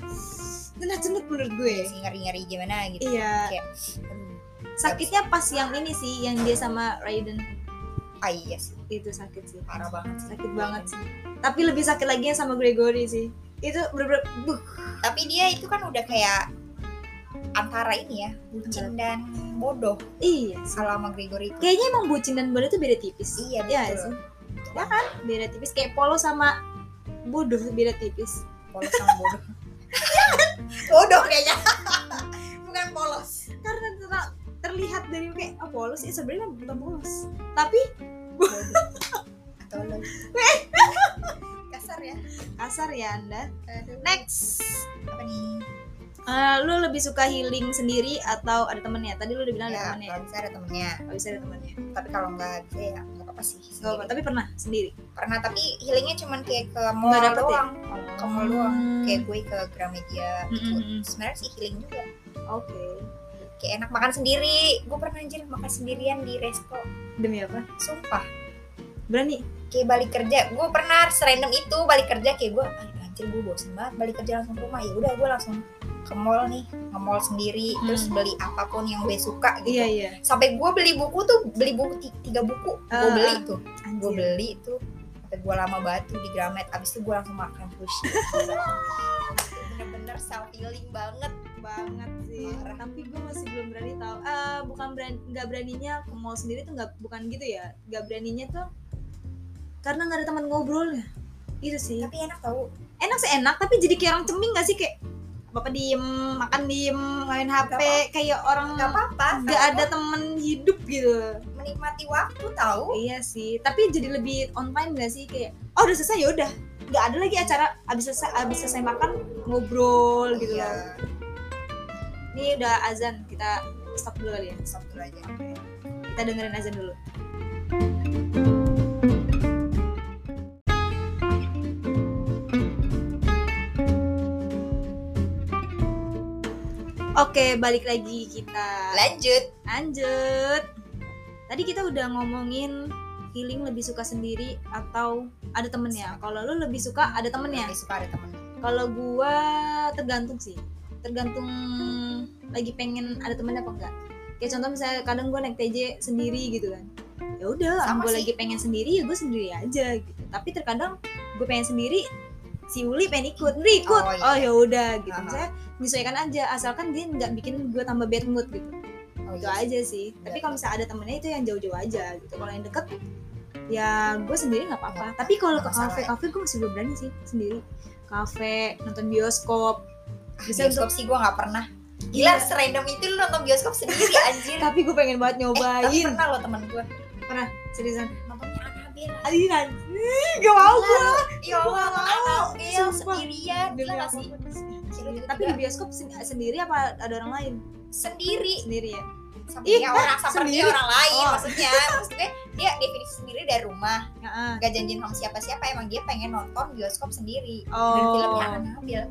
cenut-cenut menurut gue
ngeri-ngeri gimana gitu
iya
kayak hmm, aduh,
sakitnya pas yang ini sih yang dia sama Raiden
ah iya sih
itu sakit sih
parah banget sih.
sakit banget sih tapi lebih sakit lagi yang sama Gregory sih itu bener-bener buh.
tapi dia itu kan udah kayak antara ini ya bucin dan bodoh
iya sih.
kalau sama Gregory itu
kayaknya emang bucin dan bodoh itu beda tipis
iya
Iya sih
betul
ya kan beda tipis kayak polo sama bodoh beda tipis
polos sama bodoh bodoh kayaknya bukan polos
karena ter- terlihat dari kayak oh, polos ya sebenarnya bukan polos tapi
atau lo kasar ya
kasar ya anda
Aduh.
next
apa nih
Eh, lu lebih suka healing sendiri atau ada temennya tadi lu udah bilang Nah, ada
ya
temennya
kalau bisa ada temennya
oh, bisa ada temennya
tapi kalau nggak bisa ya nggak apa-apa sih
Gak apa
sendiri.
tapi pernah sendiri
pernah tapi healingnya cuman kayak ke mall
Nggak dapet ya?
doang ke mall doang
Hmm.
kayak gue ke Gramedia gitu
Mm-mm.
sebenarnya sih healing juga
Oke.
kayak enak makan sendiri gue pernah anjir makan sendirian di resto
Demi apa?
sumpah
Berani.
kayak balik kerja gue pernah serandom itu balik kerja kayak gue "Ah, anjir gue bosen banget balik kerja langsung ke rumah ya udah gue langsung ke mall nih ke mall sendiri
Hmm.
terus beli apapun yang gue
Iya
suka gitu
iya.
sampai gue beli buku tuh beli buku ti- tiga buku gue
Ah,
beli
ah.
tuh gue
Anjir.
beli tuh sampai gue lama batu di Gramet abis itu gue langsung makan sushi bener-bener self healing banget
banget sih.
Parah.
Tapi gue masih belum berani tahu. Eh, bukan berani, nggak beraninya ke mall sendiri tuh nggak bukan gitu ya. Nggak beraninya tuh karena nggak ada teman ngobrolnya. Itu sih.
tapi enak tau
Enak sih enak, tapi jadi kayak orang ceming nggak sih kayak bapak diem, makan diem, main HP, kayak orang
nggak apa-apa
nggak ada temen hidup gitu.
menikmati waktu tau
Iya sih, tapi jadi lebih online gak sih kayak oh udah selesai ya udah nggak ada lagi acara abis selesai abis selesai makan ngobrol gitu
Iya,
loh. Ini udah azan kita stop dulu kali ya.
stop dulu aja
Kita dengerin azan dulu. Oke, balik lagi kita.
lanjut
Lanjut. Tadi kita udah ngomongin healing lebih suka sendiri atau ada temennya. Kalau lu lebih suka ada temennya.
lebih suka ada temen
Kalau gua tergantung sih. Tergantung lagi pengen ada temennya apa enggak. Kayak contoh misalnya kadang gua naik TJ sendiri gitu kan. Ya udah,
Sama
gua
sih.
lagi pengen sendiri ya gua sendiri aja gitu. Tapi terkadang gue pengen sendiri si Uli pengen ikut Nri ikut
Oh, iya.
oh ya udah gitu
Aha.
saya menyesuaikan aja asalkan dia nggak bikin gue tambah bad mood gitu
Oh,
itu
iya sih.
aja sih tapi kalau misalnya ada temennya itu yang jauh-jauh aja gitu kalau yang deket ya gue sendiri nggak apa-apa
Nggak-
tapi kalau ke
nggak masalah. ya.
kafe kafe gue masih belum berani sih sendiri kafe nonton bioskop
Ah,
bisa Iya.
bioskop sih gue nggak pernah gila serandom itu lu nonton bioskop sendiri anjir eh,
tapi gue pengen banget
tapi
nyobain
pernah lo temen gue
seriusan
nontonnya Anabel
aliran gak mau gue Iya,
ya Allah
Gua
Anabel
sumpah.
sendirian gila gak sih gitu
tapi di bioskop sen- sendiri apa ada orang lain
sendiri
sendiri ya Ih,
Seperti orang seperti
sendiri.
orang lain
Oh.
maksudnya maksudnya dia definisi sendiri dari rumah
Heeh.
gak janjian sama siapa-siapa emang dia pengen nonton bioskop sendiri dan filmnya
oh
akan ngambil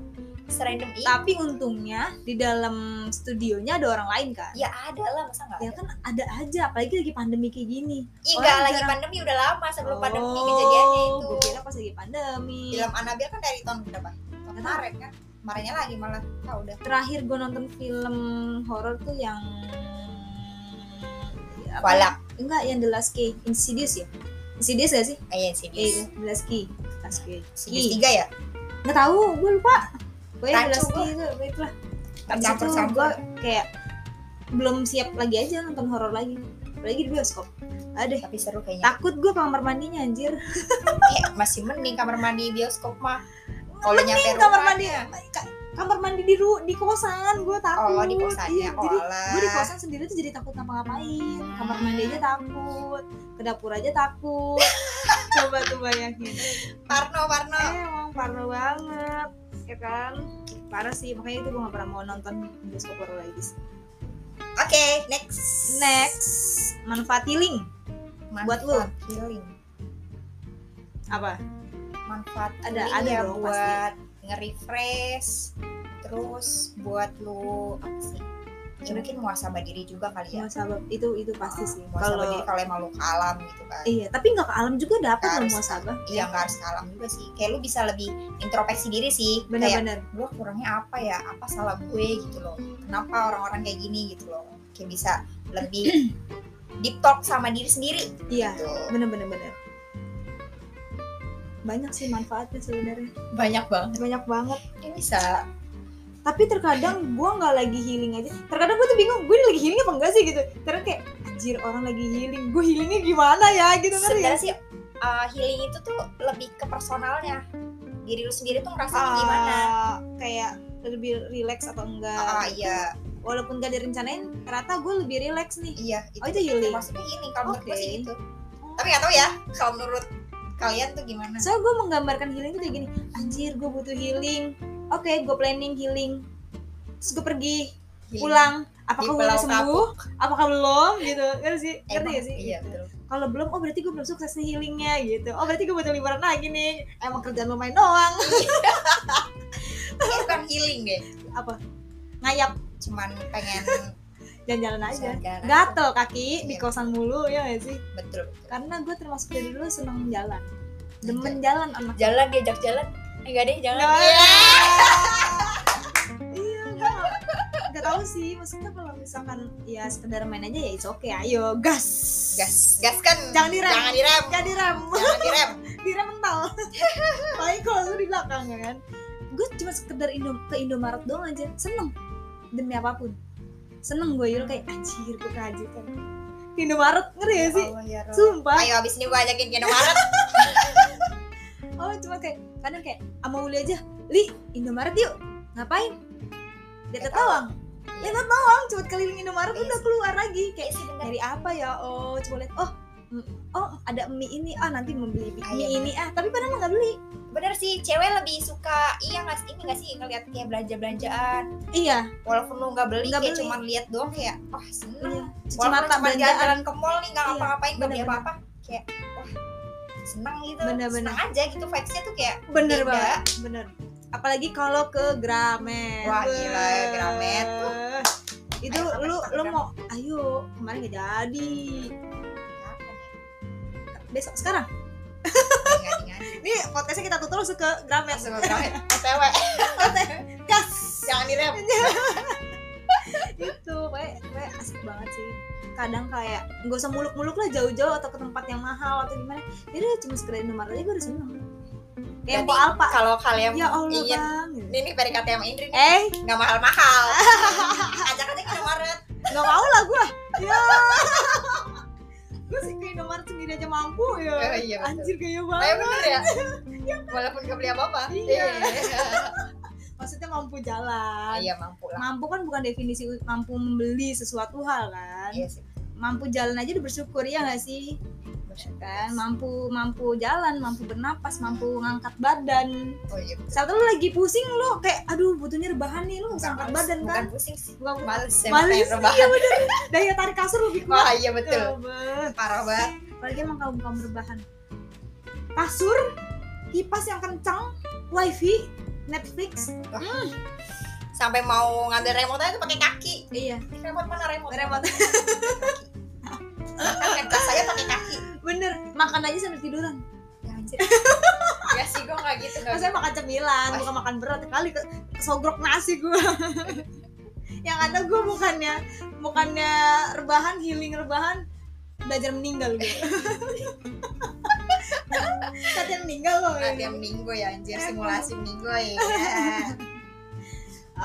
serandom itu
tapi untungnya di dalam studionya ada orang lain kan
ya ada lah masa nggak
ya
ada
kan ada aja apalagi lagi pandemi kayak gini orang
Ih, nggak lagi
jarang-
pandemi udah lama sebelum pandemi
Oh,
kejadiannya
gua
itu
kira pas lagi pandemi
film Anabel kan dari tahun berapa tahun
Nggak tahu.
kemarin kan kemarinnya lagi malah tau udah
terakhir gue nonton film horor tuh yang ya, apa?
balak
enggak yang The Last Key Insidious ya Insidious gak sih
ayah sini
eh The Last Key Last Key
sini Iya, tiga ya
nggak tahu gue lupa gue yang The
Rancu
Last
gua.
Key itu itu lah Abis itu gue
campur-campur
kayak belum siap lagi aja nonton horor lagi apalagi di bioskop ada
tapi seru kayaknya
takut gue kamar mandinya anjir
Eh, masih mending kamar mandi bioskop mah kalau
Mending
nyampe
kamar
rumah
mandi ka- kamar mandi di ru di kosan gue takut
Oh, di kosannya.
Iya, jadi
Olah.
gue di kosan sendiri tuh jadi takut ngapa-ngapain kamar mandi aja takut ke dapur aja takut coba tuh bayangin
Oh.
Iya,
Parno, Parno.
emang parah banget ya kan parah sih makanya itu gue gak pernah mau nonton bioskop horor lagi sih.
Oke, next.
next manfaati link buat
Manfaat
lu.
healing.
apa
Manfaat
Ada-
healing
ada
ya
dong, pasti.
buat nge-refresh, terus buat lu apa sih? Ya mungkin muasabah diri juga kali ya.
muasabah itu itu
Oh,
pasti sih
Muasabah diri
kalau
kalau emang lu ke alam gitu kan.
iya tapi nggak ke alam juga dapat loh
Nggak harus.
muasabah
Iya, nggak harus ke alam juga sih. Kayak lu bisa lebih introspeksi diri sih. Kayak
bener-bener
gue kurangnya apa ya? Apa salah gue gitu loh. Kenapa orang-orang kayak gini gitu loh. Kayak bisa lebih deep talk sama diri sendiri
iya
gitu.
bener bener bener banyak sih manfaatnya sebenarnya
Banyak banget.
banyak banget
Ini bisa
tapi terkadang gua nggak lagi healing aja terkadang gue tuh bingung gue lagi healing apa enggak sih gitu terus kayak anjir orang lagi healing gue healingnya gimana ya gitu kan ya
sebenarnya sih uh, healing itu tuh lebih ke personalnya diri lu sendiri tuh ngerasanya
Ah,
gimana
kayak lebih relax atau enggak
ah iya
walaupun gak direncanain ternyata gue lebih relax nih
iya
Oh, itu healing.
maksudnya healing kalau menurut gue sih
Oke.
gitu tapi nggak tahu ya kalau menurut kalian tuh gimana
soalnya gue menggambarkan healing tuh kayak gini anjir gue butuh healing oke gue planning healing terus gue pergi
Healing.
pulang apakah gue
Iya. Pulau
udah sembuh apakah belum gitu ngerti sih ngerti
Emang,
gak sih
iya
Gitu.
betul
kalau belum oh berarti gue belum sukses nih healingnya gitu oh berarti gue butuh liburan lagi nih emang kerjaan lo main doang
Ini bukan healing deh
ngayap
cuman pengen
jalan-jalan aja
jalan-jalan.
gatel kaki di
Iya.
kosan mulu ya gak sih
betul betul.
karena gue termasuk dari dulu seneng jalan demen
Iya.
jalan anak
jalan diajak jalan enggak deh jangan
Nggak.
Iya.
iya nggak- nggak tahu sih maksudnya kalau misalkan ya sekedar main aja ya it's okay ayo gas
gas gas kan
Jangan direm.
jangan direm
jangan direm
jangan direm
direm mental paling kalau lu di belakang ya kan gue cuma sekedar Indo ke Indomaret doang aja seneng demi apapun seneng gue yul kayak anjir gue kaget kan Ke Indomaret ngeri ya sih
Allah, ya Rob.
sumpah
ayo abis ini gua ajakin ke Indomaret
oh cuma kayak kadang kayak sama Uli aja li Indomaret yuk ngapain lihat
Lihat
tawang
Iya.
lihat tawang cuma keliling Indomaret
Iya
udah
sih.
keluar lagi kayak
Iya sih, bener.
dari apa ya oh coba lihat oh mm, oh ada mie ini ah nanti membeli mie
Ah, iya,
ini ah tapi padahal nggak beli
bener sih cewek lebih suka iya nggak sih ini nggak sih ngeliat kayak belanja belanjaan
iya
walaupun lu nggak beli
Nggak
kayak
beli.
cuman lihat doang kayak wah
iya
seneng
cuci
walaupun
mata
cuma
belanjaan
jalan-jalan ke mall nih nggak
Iya,
ngapa-ngapain nggak beli
bener-bener.
apa-apa kayak wah seneng gitu
Bener-bener.
seneng aja gitu vibesnya tuh kayak
bener
Beda.
banget bener apalagi kalau ke Gramet
Wah, gila ya, Gramet.
Wah. itu lu
Ayo, kapan kita ke
lu
Gramet?
mau ayo kemarin gak jadi
apa
besok sekarang
nih ngadi-ngadi
ini podcastnya kita tutup langsung ke Gramet
langsung ke Gramet OTW
gas
jangan direm
itu kayak kayak Gitu, asik banget sih kadang kayak nggak usah Ya muluk-muluk lah jauh-jauh atau ke tempat yang mahal atau gimana jadi cuma sekedar Indomaret aja gue udah seneng Kayak Mpo
Berarti
Alpa.
Kalau kalian
Ya Allah,
ingin
Bang.
ini nih PDKT sama Indri nih,
Eh,
nggak mahal-mahal. Ajak aja ke Indomaret.
nggak mau lah gue.
Iya.
Ya. gue sih ke Indomaret sendiri aja mampu ya.
Eh, iya, betul.
Anjir gaya
Eh
banget.
bener ya. Walaupun gak beli apa-apa.
Oh, Iya.
Iya.
Maksudnya mampu jalan.
Iya mampu lah.
Mampu kan bukan definisi u- mampu membeli sesuatu hal kan.
Iya sih.
Mampu jalan aja udah bersyukur ya nggak sih? Kan mampu mampu jalan, mampu bernapas, mampu ngangkat badan.
Oh iya.
Saat lu lagi pusing lu kayak aduh butuhnya rebahan nih lu harus
Bukan
angkat
males,
badan kan.
Bukan pusing sih.
Bukan
Males ya.
Males,
makanya rebahan.
daya tarik kasur lebih kuat.
Wah iya betul.
Coba.
Parah banget.
apalagi emang kaum kaum berbahan kasur kipas yang kencang wifi Netflix
Sampai mau ngambil remote aja tuh pakai kaki.
iya
Ini remote mana remote?
Remote.
Kaki. Kan laptop saya pakai kaki.
bener makan aja sambil tiduran
Ya anjir. Ya sih gue gak gitu. Gak
maksudnya makan cemilan bukan makan berat kali ke- kesogrok nasi gue yang ada gue bukannya bukannya rebahan healing rebahan belajar meninggal gue Katanya meninggal loh
Ada yang minggu ya anjir. Simulasi minggu ya.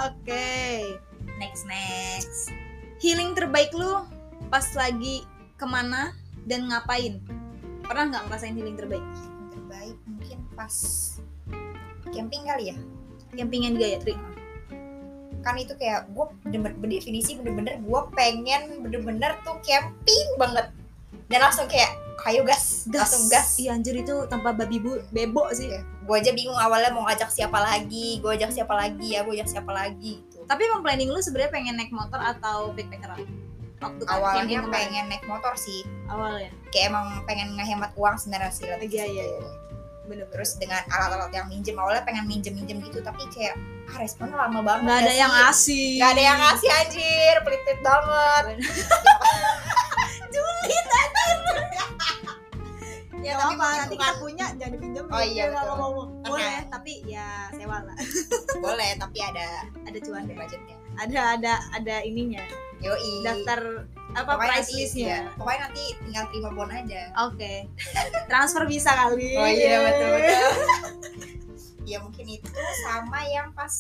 oke
Next next.
healing terbaik lu pas lagi kemana dan ngapain pernah nggak ngerasain healing terbaik
Yang terbaik mungkin pas camping kali ya.
campingan juga ya Tri
kan itu kayak gue bener berdefinisi bener-bener gue pengen bener-bener tuh camping banget dan langsung kayak ayo gas, langsung gas
iya anjir itu tanpa babi bu bebo sih
gue aja bingung awalnya mau ngajak siapa lagi gue ajak siapa lagi ya gue ajak siapa lagi gitu
tapi emang planning lu sebenarnya pengen naik motor atau backpackeran waktu kan
awalnya
camping kemarin? ya?
pengen naik motor sih
awalnya
kayak emang pengen ngehemat uang sebenarnya sih lebih
Iya,
ke
iya,
situ.
bener terus
terus dengan alat-alat yang minjem awalnya pengen minjem-minjem gitu tapi kayak ah, responnya lama banget
nggak ada
sih?
yang asik
nggak ada yang ngasih anjir pelit-pelit banget
ya
Nggak
tapi
apa-apa,
nanti
bukan.
kita punya jangan dipinjam
Oh, iya,
nggak
betul.
mau boleh
Tenang.
tapi ya sewa lah
boleh tapi ada
ada cuan
budgetnya
ada ada ada ininya
yoi
daftar apa
Pokoknya
price
nanti- iya,
listnya
pokoknya nanti tinggal terima bon aja
oke transfer bisa kali
Oh iya, ya mungkin itu sama yang pas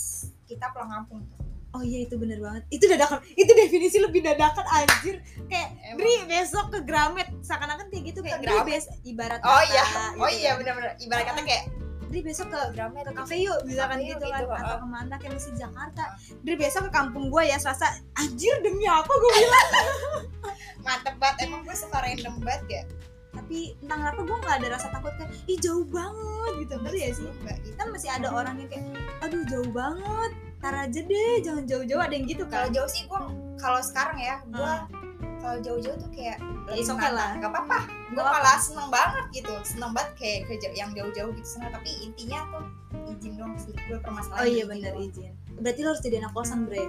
kita pulang kampung tuh.
Oh iya itu bener banget. Itu dadakan. Itu definisi lebih dadakan anjir. Kayak
Emang.
Bri besok ke Gramet. Seakan-akan kayak gitu kayak
Ke
Bri
Gramet?
bes ibarat
oh
kata,
iya
gitu
oh
kan.
iya benar-benar ibarat kata kayak
Bri besok ke
drama ya,
ke kafe yuk misalkan
Kafe yuk,
gitu kan
gitu,
atau
heeh.
kemana kayak mesti Jakarta. Bri besok ke kampung gua ya Selasa. Anjir demi apa gua bilang.
mantep banget emang gue suka random banget ya
Tapi entah kenapa gua nggak ada rasa takut kayak ih jauh banget gitu. Ngerti ya sih?
Enggak gitu.
Kan masih ada orang yang kayak aduh jauh banget. Tar aja deh jangan jauh-jauh ada yang gitu
kalau
kan.
jauh sih gue kalau sekarang ya gue
Ah.
kalau jauh-jauh tuh kayak
Ya, it's okay
nantang.
lah.
nggak apa-apa gue
Gua-
malah seneng banget gitu seneng banget kayak ke ja- yang jauh-jauh gitu seneng tapi intinya tuh izin dong sih gue
Oh
permasalahan gitu.
iya
izin
bener
doang.
izin. Berarti lo harus jadi anak kosan, Bre.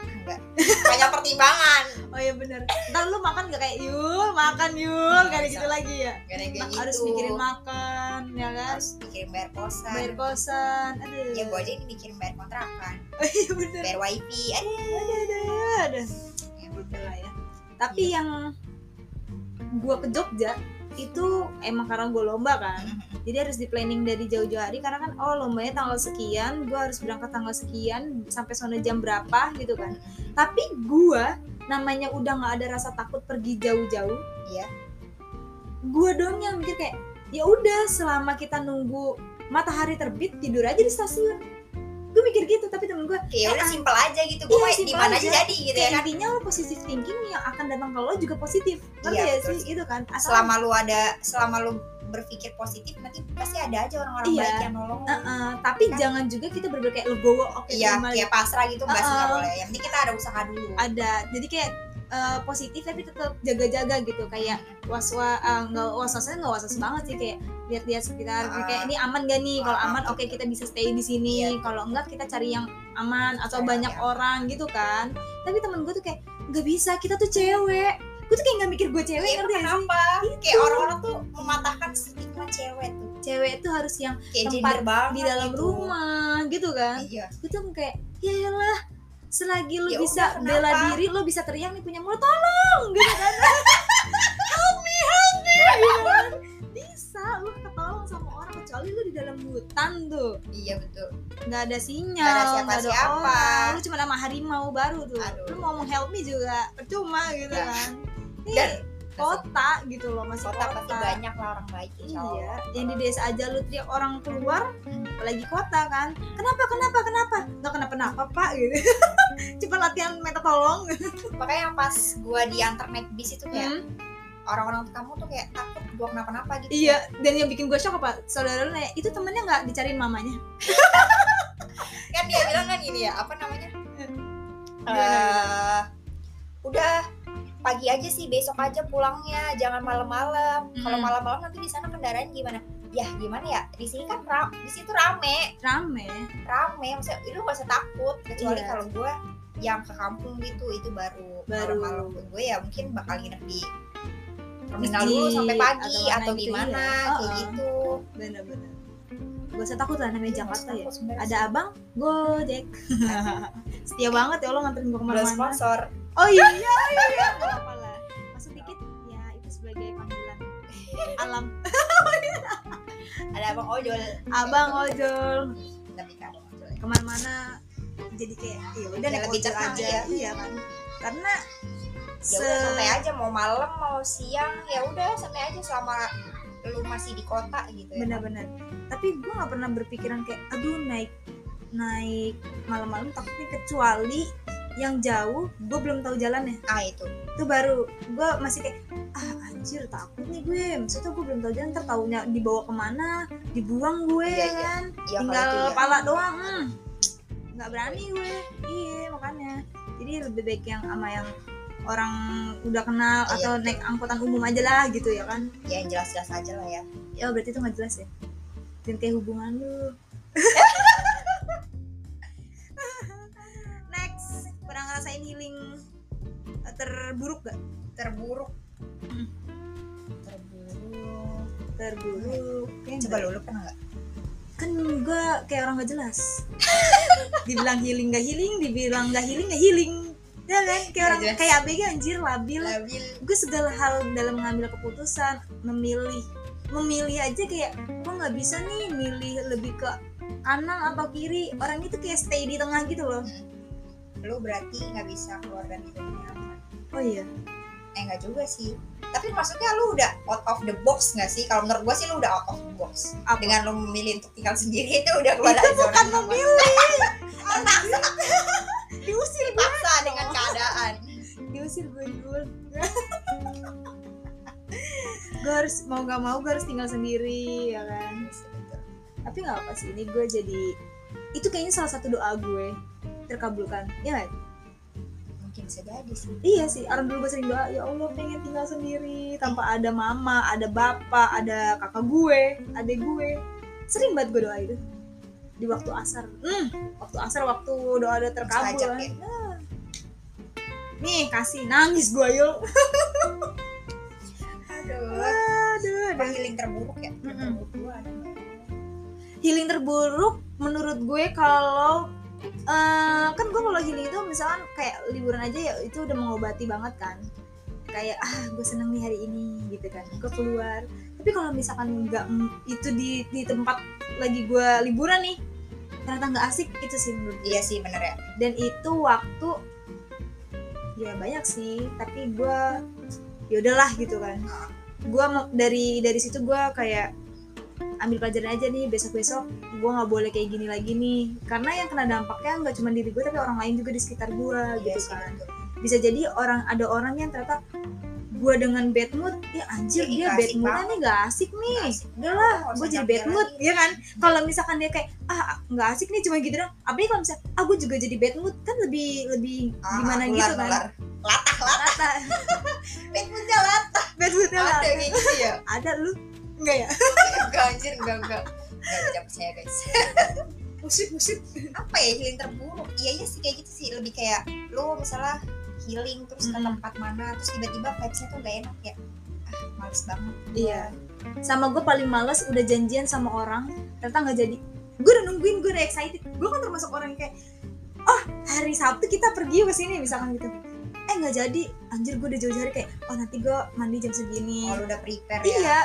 enggak banyak pertimbangan
Oh iya bener Ntar lu makan gak kayak Yul makan Yul Gak ada
Bisa.
gitu lagi ya
gak ada yang kayak
Mak-
gitu
Harus mikirin makan Ya kan
harus mikirin bayar kosan
Bayar kosan Aduh
ya gue aja ini mikirin bayar kontrakan
Oh iya bener
bayar wifi aduh
Aduh aduh aduh
ya
Gitu
udah.
lah ya Tapi yang Gue ke Jogja itu emang karena gue lomba kan jadi harus di planning dari jauh-jauh hari karena kan oh lombanya tanggal sekian gue harus berangkat tanggal sekian sampai sana jam berapa gitu kan tapi gue namanya udah nggak ada rasa takut pergi jauh-jauh
Iya.
gue doang yang mikir kayak ya udah selama kita nunggu matahari terbit tidur aja di stasiun gue mikir gitu tapi temen gue
kayak udah
Eh,
simpel aja gitu
iya,
gue di
simpel
mana
aja.
aja jadi gitu ya
kayak
kan
intinya lo positif thinking yang akan datang ke lo juga positif ngerti
Iya,
ya
betul
sih gitu kan Asal-
selama lu ada selama lu berpikir positif nanti pasti ada aja orang-orang
Iya.
baik yang nolong
Eh, eh, tapi
Kan.
jangan juga kita berpikir kayak legowo oke
iya
terima
kayak pasrah gitu nggak sih nggak
Uh-uh.
boleh yang penting kita ada usaha dulu
ada jadi kayak eh, positif tapi tetap jaga-jaga gitu kayak was was nggak was wasnya nggak was was banget sih kayak lihat-lihat sekitar
Ah.
kayak ini aman gak nih kalau
Ah,
aman
ah.
oke kita bisa stay di sini
Iya.
kalau enggak kita cari yang aman atau
Cari
banyak
yang
orang gitu kan tapi temen gue tuh kayak nggak bisa kita tuh cewek gue tuh kayak nggak mikir gue cewek
Iya,
ngerti gak sih
kenapa kayak orang-orang tuh mematahkan stigma cewek tuh
cewek tuh harus yang
kayak
Tempat
gender banget
di dalam
gitu.
rumah gitu kan
iya
gue tuh kayak yaelah selagi lu
Ya
bisa
udah,
bela
kenapa?
diri lu bisa teriak nih punya mulut tolong gitu kan help me help me gitu kan. bisa bisa lu ketolong sama orang kecuali lu di dalam hutan tuh
iya betul
nggak ada sinyal
Nggak ada
nggak
siapa-siapa.
orang. lu cuma sama harimau baru tuh
Aduh.
lu mau help me juga percuma gitu
Ya.
kan Nih,
dan
kota gitu loh masih
kota pasti banyak lah orang baik
Iya,
insya Allah
yang di desa aja lu teriak orang keluar, apalagi kota kan. Kenapa, kenapa, kenapa? Nggak kenapa-napa, Pak, gitu. Cuma latihan minta tolong.
makanya yang pas gua diantar naik bis itu kayak
Hmm.
orang-orang kamu tuh kayak takut gua kenapa-napa gitu
Iya, dan yang bikin gue shock apa? Saudara lu nanya, itu temennya nggak dicariin mamanya?
kan dia bilang kan ini ya apa namanya
Gimana?
Eh, udah pagi aja sih besok aja pulangnya jangan malam-malam kalau
Hmm.
malam-malam nanti di sana kendaraan gimana ya gimana ya di sini kan ra- di situ rame
Rame.
rame maksudnya lu gak usah takut kecuali
Iya.
kalau gue yang ke kampung gitu itu baru
Baru.
malam gue ya mungkin bakal nginep di terminal
Masjid
dulu sampai pagi
atau mana
atau,
gitu,
gimana
iya.
kayak
Oh, oh.
gitu
Bener-bener. Gue usah takut lah namanya Jakarta ya.
Takut sebenarnya
Ada abang, Gojek. Setia banget ya Allah nganterin gue
belum
kemana-mana.
sponsor
Oh iya, iya, iya. Kenapa lah? Masuk dikit, ya itu sebagai panggilan alam.
ada abang ojol
Abang ojol.
tapi kan abang ojol
kemana-mana jadi kayak ya udah
Ya,
naik
lebih
ojek
tenang,
aja
ya.
iya kan karena
ya
se
udah santai aja mau malam mau siang ya udah santai aja selama lu masih di kota gitu ya
benar-benar tapi gue nggak pernah berpikiran kayak aduh naik naik malam-malam tapi kecuali yang jauh gue belum tahu jalannya
ah itu
itu baru gue masih kayak ah anjir takut nih gue maksudnya gue belum tahu jalan ntar taunya dibawa kemana dibuang gue
Iya, iya.
kan
ya
tinggal
kalau itu ya.
pala doang hmm. nggak berani gue iya makanya jadi lebih baik yang sama yang orang udah kenal
Iya,
atau
betul.
naik angkutan umum aja lah gitu ya kan
ya yang jelas-jelas aja lah ya
ya berarti itu nggak jelas ya dan kayak hubungan lu next pernah ngerasain healing eh, terburuk gak
terburuk
Hmm.
terburuk
terburuk Kayaknya
coba
nggak.
lu lu pernah nggak
kan gue kayak orang gak jelas dibilang healing gak healing dibilang gak healing gak healing ya kan kayak orang
Nggak jelas. Iya.
kayak abg anjir labil
labil
gue segala hal dalam mengambil keputusan memilih memilih aja kayak gue nggak bisa nih milih lebih ke kanan atau kiri orang itu kayak stay di tengah gitu loh
lu berarti nggak bisa keluar dari zona nyaman
oh iya
eh nggak juga sih tapi maksudnya lu udah out of the box nggak sih kalau menurut gua sih lu udah out of the box
Apa?
dengan lu memilih untuk tinggal sendiri itu udah keluar dari
itu
zona
bukan
nyaman.
Kan memilih
terpaksa
diusir gue
terpaksa dengan keadaan
diusir gue dulu gue harus mau gak mau gue harus tinggal sendiri ya kan tapi nggak apa sih ini gue jadi itu kayaknya salah satu doa gue terkabulkan ya nggak?
mungkin bisa jadi sih
iya sih orang dulu gue sering doa ya allah pengen tinggal sendiri tanpa ada mama ada bapak ada kakak gue adik gue sering banget gue doa itu di waktu asar hmm, waktu asar waktu doa doa terkabul
Mustajab
kan.
ya?
Ah. nih kasih nangis gue "Ya yuk
aduh
aduh
apa
aduh.
healing terburuk ya Healing
Mm-mm.
terburuk gua ada nggak?
healing terburuk menurut gue kalau eh, kan gue kalau healing itu misalkan kayak liburan aja ya itu udah mengobati banget kan kayak ah gue seneng nih hari ini gitu kan gue keluar tapi kalau misalkan nggak mm, itu di di tempat lagi gue liburan nih ternyata nggak asik itu sih menurut gue.
iya sih bener ya
dan itu waktu ya banyak sih tapi gue ya udahlah gitu kan gue dari dari situ gue kayak ambil pelajaran aja nih besok besok gue nggak boleh kayak gini lagi nih karena yang kena dampaknya nggak cuma diri gue tapi orang lain juga di sekitar gue
iya
gitu
sih
kan
betul.
bisa jadi orang ada orang yang ternyata gue dengan bad mood ya anjir
Ih,
dia
Iya, nggak
bad
asik
moodnya
banget.
nih gak asik nih
Nggak asik.
udah lah
Nggak usah
gue jadi
capek
bad mood
lagi.
ya kan kalau misalkan dia kayak ah nggak asik nih cuma gitu dong apalagi kalau misalkan ah gue juga jadi bad mood kan lebih lebih
Ah,
gimana
ular,
gitu kan
ular. latah latah
Rata.
bad moodnya latah
bad moodnya
ada
ada.
kayak gitu ya
ada lu enggak ya
enggak anjir enggak enggak enggak bisa percaya guys
musik musik
apa ya healing terburuk iya iya sih kayak gitu sih lebih kayak lu misalnya healing terus ke
Mm.
tempat mana terus tiba-tiba vibesnya tuh gak enak ya ah males banget
iya sama gue paling males udah janjian sama orang ternyata nggak jadi gue udah nungguin gue udah excited gue kan termasuk orang yang kayak oh hari Sabtu kita pergi yuk ke sini misalkan gitu eh nggak jadi anjir gue udah jauh-jauh hari kayak oh nanti gue mandi jam segini
Oh, lu udah prepare ya?
iya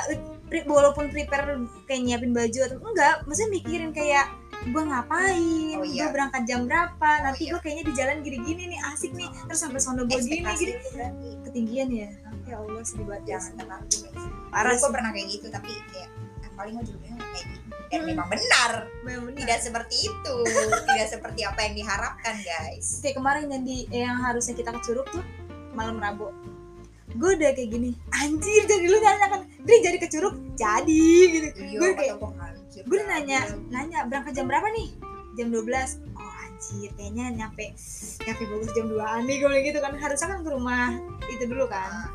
pri- walaupun prepare kayak nyiapin baju atau enggak maksudnya mikirin kayak gue ngapain
Oh,
Gua
iya.
berangkat jam berapa
Oh,
nanti
iya.
gue kayaknya di jalan gini-gini nih asik nih terus sampai sono gue gini
Ekspektasi Iya.
gini
lu berarti
ketinggian ya ya allah sedih banget ya
jangan terlalu guys.
parah
Dulu
sih
gua pernah kayak gitu tapi kayak ah, paling gue judulnya kayak gitu. Dan
Mm.
memang benar,
memang benar.
tidak seperti itu, tidak seperti apa yang diharapkan guys.
kayak kemarin yang di eh, yang harusnya kita ke Curug tuh malam Rabu gue udah kayak gini anjir jadi lu nanya kan Dri jadi ke Curug jadi gitu gue
Iya,
kayak
atau gua hancur,
gue udah nanya
hancur.
nanya berangkat jam berapa nih jam 12 oh anjir kayaknya nyampe nyampe Bogor jam 2an nih gue bilang gitu kan harusnya kan ke rumah itu dulu kan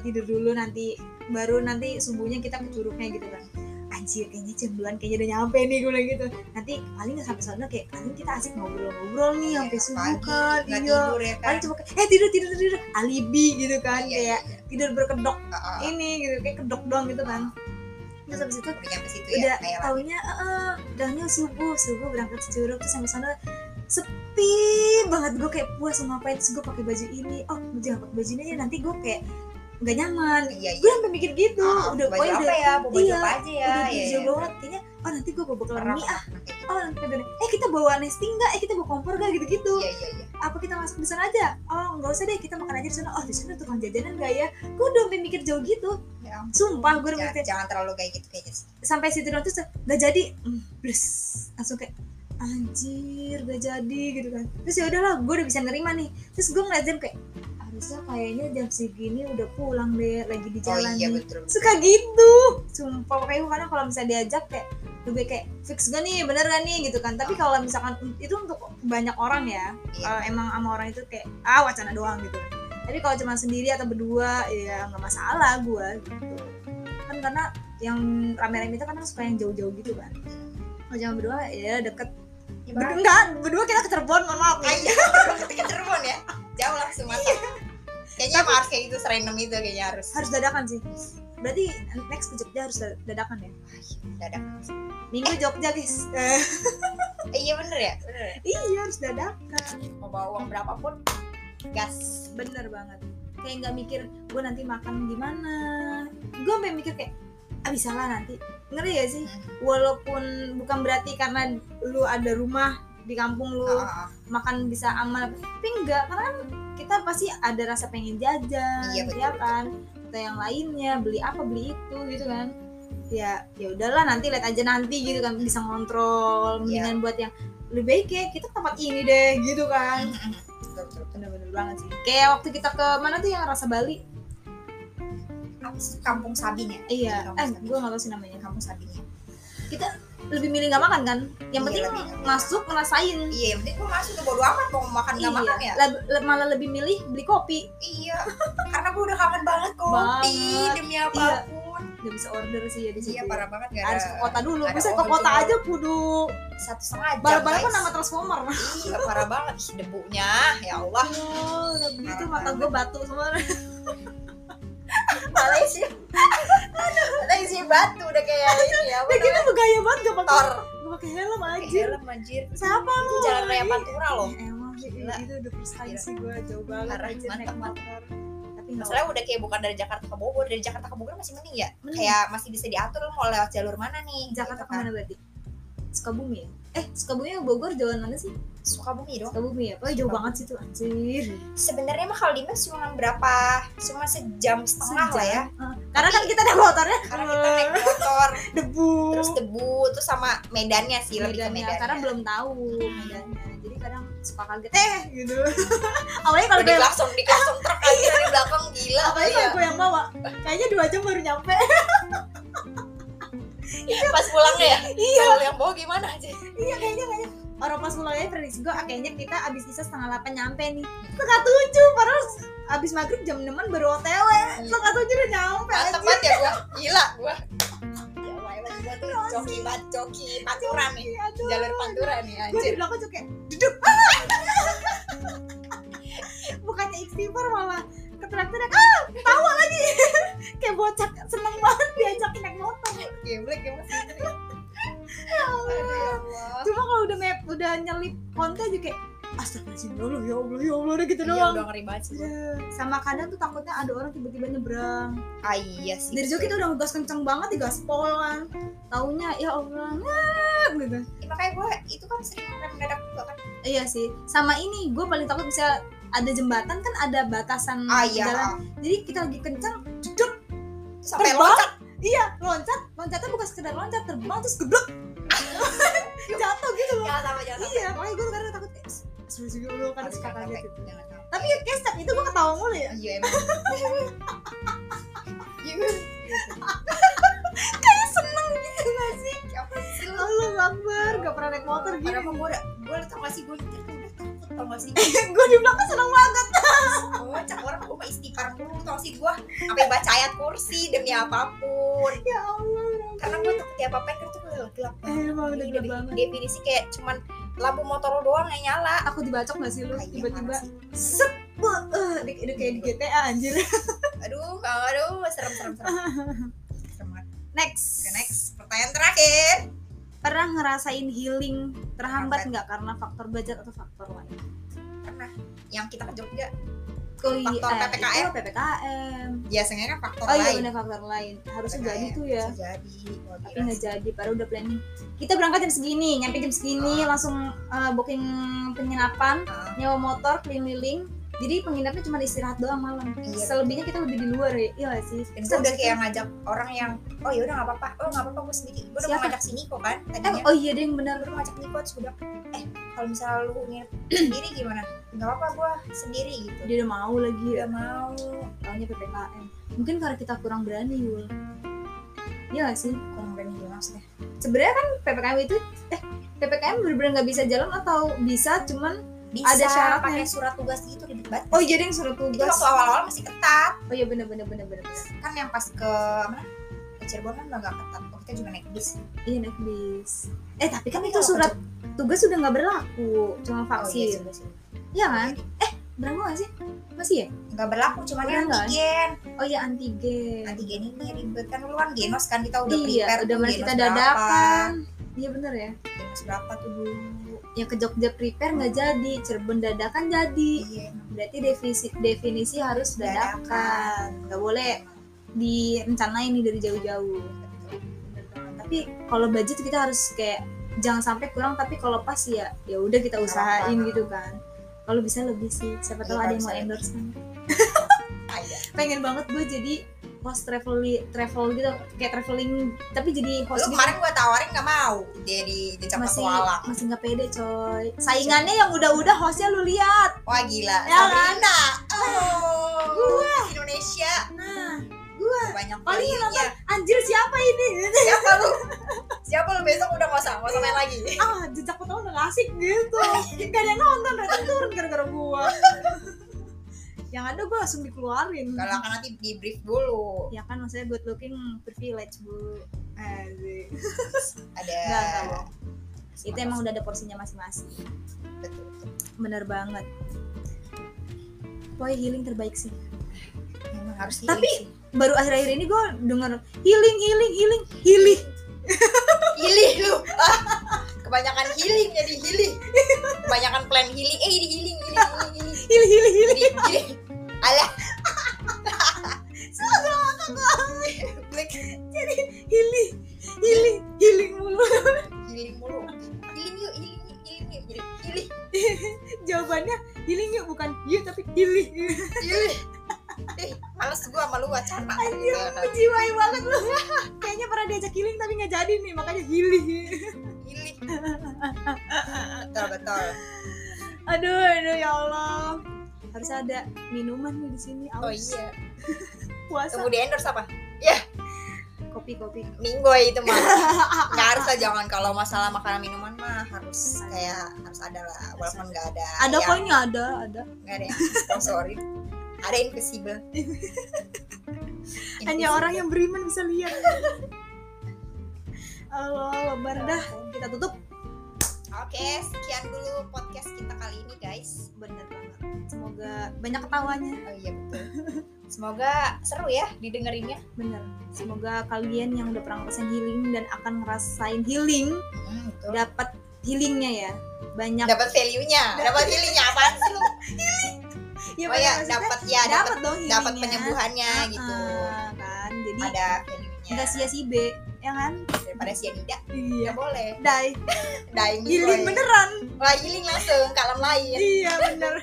eh, tidur dulu nanti baru nanti subuhnya kita ke curugnya gitu kan anjir kayaknya jam 2an kayaknya udah nyampe nih gue bilang gitu nanti paling nggak sampai sana kayak paling kita asik ngobrol-ngobrol nih
iya,
sampai subuh
pagi,
kan
nggak
iya
tidur ya kan?
paling cuma kayak eh tidur tidur tidur alibi gitu kan
Iya,
kayak
iya,
tidur berkedok
iya. Ah, ah.
ini gitu kayak kedok doang gitu kan terus habis itu
udah nyampe situ
udah
ya kayak lah.
taunya eh eh, udahnya subuh subuh berangkat ke Curug terus sampai sana sepi banget gue kayak puas mau ngapain terus gue pakai baju ini oh gue jangan pakai baju ini ya nanti gue kayak nggak nyaman
iya
gue
iya
sampai mikir gitu
Ah,
udah
baju
pokoknya
apa
udah
ya Bawa baju
iya,
apa aja ya
udah
Iya,
jauh
iya.
banget kayaknya oh nanti gue bawa
Pernah,
kelar mie ah
pernah kayak gitu.
oh nanti gue- eh kita bawa nasi enggak eh kita bawa kompor enggak gitu-gitu
iya iya iya
apa kita masuk di sana aja oh nggak usah deh kita makan aja di sana oh di sana tukang jajanan nggak ya gue udah sampai mikir jauh gitu
Ya ampun.
sumpah gue udah
jangan,
mikir
jangan terlalu kayak gitu kayaknya sih
sampai situ doang terus nggak jadi Hmm, plus langsung kayak anjir gak jadi gitu kan terus ya udahlah gue udah bisa nerima nih terus gue ngeliat jam kayak harusnya kayaknya jam segini udah pulang deh lagi di
oh
jalan
iya
nih."
betul
suka gitu sumpah pokoknya gue kadang kalau misalnya diajak kayak lebih kayak fix gak nih bener gak nih gitu kan tapi kalau misalkan itu untuk banyak orang ya
Iya.
kalau emang sama orang itu kayak ah wacana doang gitu tapi kalau cuma sendiri atau berdua ya nggak masalah gue gitu kan karena yang rame-rame itu kadang suka yang jauh-jauh gitu kan kalau cuma berdua ya deket
Ya,
Berdua-
barang-
enggak berdua kita ke Cirebon mohon maaf
Ah, iya ke Cirebon ya jauh lah Sumatera kayaknya emang harus kayak gitu serandom itu kayaknya harus
harus dadakan sih berarti next ke Jogja harus dadakan ya
dadak
minggu Jogja guys Eh,
eh, iya bener ya bener ya.
iya harus dadakan
mau bawa uang berapapun gas
bener banget kayak nggak mikir gue nanti makan gimana gue sampai mikir kayak ah bisa lah nanti ngeri ya sih walaupun bukan berarti karena lu ada rumah di kampung lu
Ah, ah,
makan bisa aman tapi enggak karena kan kita pasti ada rasa pengen jajan
Iya, betul,
ya kan atau yang lainnya beli apa beli itu gitu kan ya ya udahlah nanti lihat aja nanti gitu kan bisa ngontrol
Iya.
mendingan buat yang lebih baik ya kita ke tempat ini deh gitu
ah.
kan
betul betul
bener-bener banget sih kayak waktu kita ke mana tuh yang rasa Bali
Apa sih, kampung Sabin ya
iya eh
Kampung Sabin.
gue nggak tahu sih namanya
kampung Sabin ya
lebih milih nggak makan kan yang
Iya,
penting
lebih nggak makan.
masuk ngerasain
iya yang penting gua masuk tuh bodo amat mau makan nggak
Iya.
makan ya
Leb- le- malah lebih milih beli kopi
iya karena gue udah kangen banget kopi
Banget.
demi apapun
nggak bisa order sih ya di situ
iya
ya.
parah banget gak
harus ke
ada
kota dulu
ada
bisa ke
orang
kota
jual.
aja kudu
satu setengah jam
balap-balapan
guys.
sama transformer
iya parah banget Ih, debunya ya Allah
Oh, itu mata gue batu semua
Malaysia Malaysia batu udah kayak ini ya apa
Eh, kita tuh gaya banget gak pakai
Tor.
gak pakai helm
namanya?
anjir
Helm, anjir
siapa
itu
lu
jalan raya Pantura loh
emang sih
Gila.
itu udah first time
Gila.
sih gue jauh banget
Parah,
anjir naik
mantap,
motor tapi nggak
Masalahnya udah kayak bukan dari Jakarta ke Bogor, dari Jakarta ke Bogor masih mending ya.
Mending.
Kayak masih bisa diatur lo mau lewat jalur mana nih.
Hmm. Jakarta
gitu kan.
kemana berarti? Sukabumi ya? Eh, Sukabumi sama Bogor jauhan mana sih?
Sukabumi dong.
Sukabumi ya? Pokoknya jauh banget sih tuh, anjir
Sebenarnya mah kalau di Maps cuma berapa? Cuma sejam setengah lah ya.
Sejam. Eh, Karena kan kita ada motornya
Karena kita naik motor,
Debu
terus debu, terus sama medannya sih lebih ke
Medannya,
medannya.
ya, Karena belum tahu medannya Jadi kadang suka kaget, eh gitu Awalnya kalau
Udah di
gue
klakson, di klakson truk aja di belakang gila.
Iya. Apalagi
iya.
kalau gue yang bawa Kayaknya dua jam baru nyampe
Pas pulangnya ya.
Iya.
Kalau yang bawa gimana aja?
Iya kayaknya kayaknya Orang pas mulai prediksi gue ah, Kayaknya kita abis isa setengah delapan nyampe nih Setengah tujuh Padahal abis maghrib jam 6 baru otw Setengah tujuh udah nyampe
Mantep
anjir
banget ya gua. Gila gua. Ya wah, emang gua tuh coki banget, coki pantura nih.
Iya, aduh.
Jalur pantura
gue
nih
di
anjir.
belakang tuh kayak duduk bukannya istighfar malah keterak-terak ah tawa lagi kayak bocah seneng banget diajakin naik motor
Geblek ya
Iya.
Mas.
cuma kalau udah map udah nyelip konten juga kayak astagfirullahaladzim dulu ya Allah ya Allah udah gitu
Iya,
doang
udah ngeri banget sih.
Iya. sama kadang tuh takutnya ada orang tiba-tiba nyebrang
Ah, iya sih.
dari jauh kita udah ngegas kenceng banget digaspol kan taunya ya Allah ngap, gitu
Ya, makanya gue itu kan sering rem mendadak juga kan.
iya sih sama ini gue paling takut misalnya ada jembatan kan ada batasan
Ah iya.
jalan jadi kita lagi kenceng jeduk
Sampai
Terbang.
loncat.
iya loncat loncatnya bukan sekedar loncat terbang terus gedek jatuh gitu loh
Jangan sama jangan.
iya makanya gue sekarang takut eh, serius juga lo kan
Harus
suka
kakak
kaget
gitu. Jangan sampai.
tapi ya kayak setiap itu gue ketawa mulu ya
Iya emang. Iya.
kayak seneng gitu gak sih
Apa sih lu?
Allah gambar gak pernah naik motor gitu.
Padahal
gini
mah gue gue tau gak sih gue nyetir tuh udah takut tau gak sih
gue di belakang seneng banget
Kocak orang gue mah istighfar dulu tau sih gue sampai baca ayat kursi demi apapun
ya Allah
karena gue takut ya apa-apa kan tuh gelap gelap
Eh, emang udah gede
Jadi,
banget
definisi kayak cuman lampu motor lo doang yang nyala
aku dibacok gak sih lu
Ah, iya,
tiba-tiba
parah sih.
sep eh di- udah kayak di GTA anjir
aduh aduh serem serem serem serem banget.
next
Oke next pertanyaan terakhir
pernah ngerasain healing terhambat
Terhambat.
nggak karena faktor budget atau faktor lain
pernah yang kita ke Jogja
oh,
Faktor PPKM.
PPKM
biasanya kan faktor
oh iya
lain
bener faktor lain harusnya
PPKM.
jadi tuh ya
Bisa jadi Wah,
tapi
gila
nggak
sih.
jadi baru udah planning kita berangkat jam segini nyampe jam segini langsung eh, booking penginapan
Ah,
nyewa motor keliling-keliling jadi penginapnya cuma istirahat doang malam
Iya,
selebihnya kita lebih di luar ya iya nggak sih
dan gue udah kayak ngajak orang yang oh yaudah nggak apa-apa oh nggak apa-apa gue sendiri gue udah mau
Siapa?
ngajak si Niko kan
Eh,
tadinya
oh iya deh yang benar
gue udah ngajak Niko terus gue bilang eh kalau misalnya lu nginep sendiri gimana nggak apa-apa gue sendiri gitu
dia udah mau lagi ya
Gak mau
taunya ppkm mungkin karena kita kurang berani Yul iya nggak sih
kurang berani juga maksudnya
sebenarnya kan ppkm itu eh ppkm bener-bener nggak bisa jalan atau bisa cuman
bisa
Ada syaratnya.
pakai surat tugas gitu ribet banget
oh iya deh yang suruh
itu
tugas
waktu awal-awal masih ketat
oh iya bener-bener bener-bener bener.
kan yang pas ke mana ke Cirebon kan udah gak ketat waktu itu juga naik bis
iya naik bis eh tapi kan
Tapi
itu
kalau
surat tugas sudah nggak berlaku cuma vaksin
juga Oh, iya sih.
iya kan eh berlaku nggak sih masih ya
nggak berlaku cuman
Udah
yang
nggak?
antigen
oh iya antigen
antigen ini ribet kan dulu kan genos kan kita udah
iya
prepare
udah
tuh
mana
genos
kita
berapa,
dadakan iya bener ya
genos berapa tuh dulu
ya ke Jogja prepare nggak
Hmm.
jadi Cirebon dadakan jadi
iya
berarti definisi definisi harus dadakan nggak boleh direncanain nih dari jauh-jauh tapi kalau budget kita harus kayak jangan sampai kurang tapi kalau pas ya ya udah kita usahain
apa-apa.
gitu kan kalau bisa lebih sih siapa tahu ada
Iya, kalau
yang mau
bisa
endorse kan
Ah, iya.
pengen banget gue jadi host travel travel gitu kayak traveling tapi jadi
lu
host gitu
kemarin gua tawarin nggak mau jadi dicap
masih
petualang
masih nggak pede coy saingannya yang udah-udah hostnya lu lihat
wah gila
Ya kan?
Sabrina oh
Gua.
Indonesia
nah
banyak
Paling yang
bayinya.
anjir siapa ini
siapa lu siapa lu besok udah nggak usah nggak usah main lagi
ah jejak foto udah nggak asik gitu gak ada yang nonton mereka turun gara-gara gua yang ada gua langsung dikeluarin
kalau akan nanti di brief dulu
ya kan maksudnya good looking privilege bu Asik.
ada
Nggak, nggak, bohong.
Iya. Semangat.
itu emang udah ada porsinya masing-masing
Betul, betul.
bener banget Pokoknya healing terbaik sih
Emang harus
Tapi- Baru akhir-akhir ini gua denger Healing, healing, healing, healing
healing lu Ah. kebanyakan healing jadi healing kebanyakan plan healing eh ini healing healing healing healing
Healing, healing, healing
healing, healing. alah Black
Jadi healing, healing, healing mulu
healing mulu healing yuk healing yuk healing yuk jadi healing
Jawabannya healing yuk bukan yuk tapi healing
healing eh males gua sama lu wacana
Anjir, jiwai banget lu. Kayaknya pernah diajak healing tapi nggak jadi nih, makanya healing.
healing betul betul
Aduh, aduh ya Allah. Harus ada minuman nih di sini.
oh
Aus.
iya
Puasa
tunggu di endorse apa
kopi-kopi.
minggoy itu mah nggak harus lah jangan kalau masalah makanan minuman mah harus kayak harus ada lah walaupun nggak ada
Ada
yang-
koinnya ada, ada.
nggak ada yang sponsorin ada invisible Iya,
Hanya orang yang beriman bisa lihat. Allah, lebar dah. Kita tutup.
oke sekian dulu podcast kita kali ini guys
Bener banget. Semoga banyak ketawanya.
oh iya betul semoga seru ya didengerinnya
Bener. Semoga kalian yang udah pernah ngerasain healing dan akan ngerasain healing
hmm, betul
dapat healingnya ya. Banyak
dapat value nya dapat healing ya
maksudnya
dapat ya dapat
dapat dong
dapat
healingnya.
penyembuhannya
Ah,
gitu
ah, kan jadi
ada
nggak
value-nya
sia si B ya kan
daripada sianida
iya
nggak boleh
dai
dying
healing
bener
beneran
lah healing langsung ke alam lain
iya bener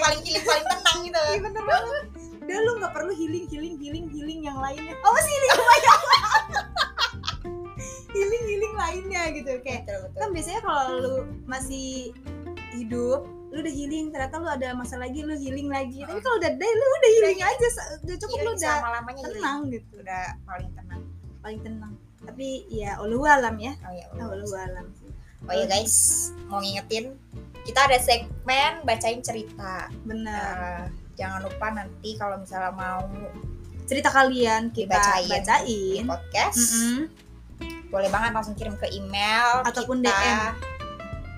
kayak
paling healing paling tenang gitu
iya bener banget udah lu nggak perlu healing healing healing healing yang lainnya oh masih healing banyak healing healing lainnya gitu kayak
betul betul
kan biasanya kalau lu masih hidup lu udah healing ternyata lu ada masalah lagi lu healing lagi tapi kalau udah day lu udah healing aja se- udah cukup Kan lu
healing
udah
sama lamanya healing
tenang gitu
udah paling tenang
paling tenang tapi ya ulu alam ya
oh ya
oh, ulu alam
oh ya guys mau ngingetin kita ada segmen bacain cerita
benar
Eh, jangan lupa nanti kalau misalnya mau
cerita kalian kita
Dibacain.
bacain,
di podcast
Mm-mm.
boleh banget langsung kirim ke email
Ataupun
kita.
DM.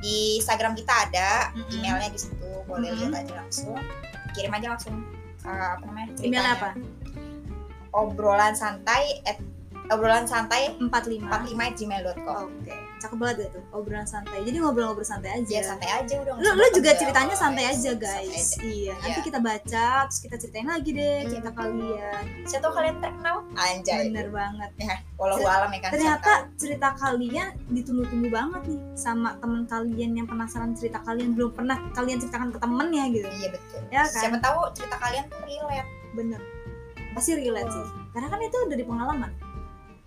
di Instagram kita ada
Mm-mm.
emailnya di situ boleh
Mm-mm.
lihat aja langsung kirim aja langsung eh, apa namanya
email
ceritanya.
apa
obrolan santai at obrolan santai
45
45 gmail.com
Oh, Oke, cakep banget ya tuh obrolan santai. Jadi ngobrol-ngobrol santai aja.
ya santai aja udah
lu, lu juga ceritanya Iya, santai aja guys iya nanti
Iya.
kita baca terus kita ceritain lagi deh
Hmm.
cerita kalian
satu kalian terkenal anjay
bener banget
ya walau alam ya
Hmm.
kan siapa
ternyata cerita kalian ditunggu-tunggu banget nih sama temen kalian yang penasaran cerita kalian belum pernah kalian ceritakan ke temen ya gitu
tahu. iya betul
Ya kan?
siapa tahu cerita kalian tuh relate
bener pasti relate sih karena kan itu dari pengalaman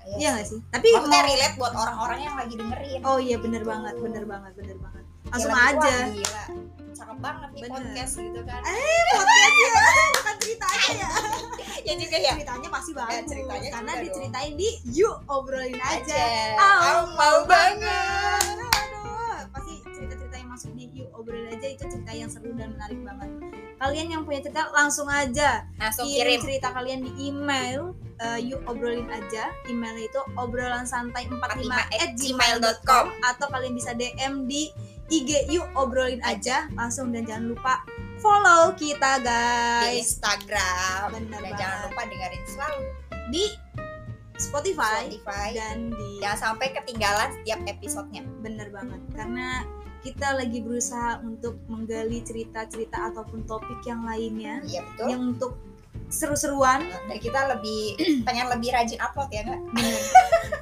iya
Iya
gak sih tapi
Maksudnya
mau-
relate buat orang-orang yang lagi dengerin
oh iya bener
Gitu.
banget bener banget bener banget
Gila,
langsung
wah,
aja
gila cakep banget nih
Bener.
podcast gitu kan
bukan ceritanya ya
ya juga ya
ceritanya pasti bagus
ceritanya
karena
juga dong.
diceritain di yuk obrolin aja.
Ah, mau banget
banget. Aduh, pasti cerita-cerita yang masuk di yuk obrol aja itu cerita yang seru dan menarik banget. Kalian yang punya cerita langsung aja
langsung
kirim
kirim
cerita kalian di email eh, yuk obrolin aja. Emailnya itu obrolan santai 45 at gmail.com atau kalian bisa DM di IG yuk obrolin aja langsung dan jangan lupa follow kita
di
guys
Instagram
Bener
dan
banget.
jangan lupa dengerin selalu
di Spotify,
Spotify Ya.
dan Ya. di
jangan sampai ketinggalan setiap episodenya
bener banget karena kita lagi berusaha untuk menggali cerita-cerita ataupun topik yang lainnya
iya betul
yang untuk seru-seruan
dan kita lebih pengen lebih rajin upload ya nggak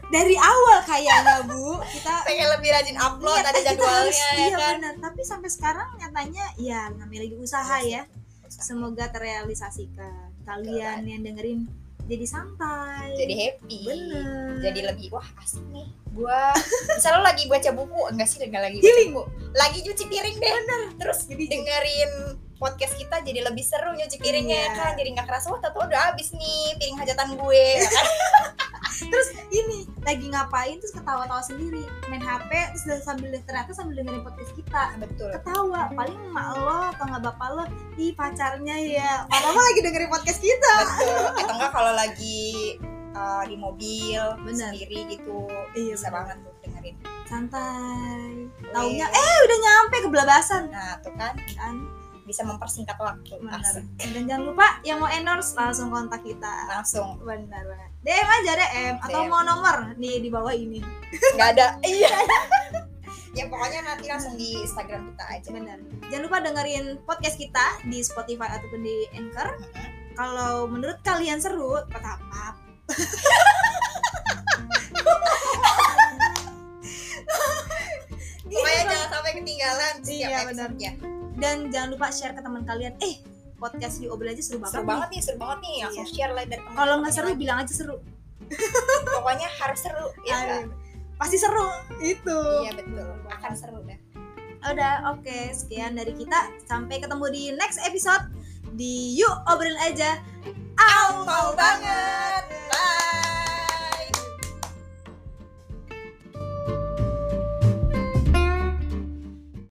dari awal kayaknya bu kita
pengen lebih rajin upload
niat,
ada
eh, kita
jadwalnya
harus-
ya
iya
kan
bener. tapi sampai sekarang nyatanya ya namanya lagi usaha ya semoga terrealisasikan kalian yang dengerin jadi santai
jadi happy
bener
jadi lebih wah asik nih gua misalnya lo lagi baca buku enggak sih enggak lagi baca
healing bu
buku. lagi cuci piring deh terus
Jadi-
dengerin podcast kita jadi lebih seru nyuci piringnya ya
Iya.
kan jadi nggak kerasa wah tato udah habis nih piring hajatan gue ya kan?
terus ini lagi ngapain terus ketawa-tawa sendiri main HP terus sambil ternyata sambil dengerin podcast kita
kan? betul
ketawa paling emak lo atau nggak bapak lo ih pacarnya ya mama lagi dengerin podcast kita
betul atau enggak kalau lagi uh, di mobil
Bener.
sendiri gitu
Iya,
bisa
bener.
banget tuh dengerin
santai taunya
eh
eh udah nyampe kebelabasan
nah tuh kan
kan
bisa mempersingkat waktu
bener
Asik.
dan jangan lupa yang mau endorse langsung kontak kita
langsung
bener banget DM aja DM eh, atau
DM.
mau nomor nih di bawah ini
nggak ada iya ya pokoknya nanti langsung di Instagram kita aja
bener jangan lupa dengerin podcast kita di Spotify ataupun di Anchor kalau menurut kalian seru pertama
pokoknya jangan sampai ketinggalan setiap
Iya, bener.
episode ya
Gitu. dan jangan lupa share ke teman kalian eh podcast di obrol aja seru banget,
seru
nih. Iya.
banget nih seru banget nih langsung share lah dari teman-teman
kalau nggak seru
lagi.
bilang aja seru
pokoknya harus seru ya nggak?
Aduh, pasti seru itu
iya betul akan seru deh
udah oke sekian dari kita sampai ketemu di next episode di yuk obrol aja Au,
mau banget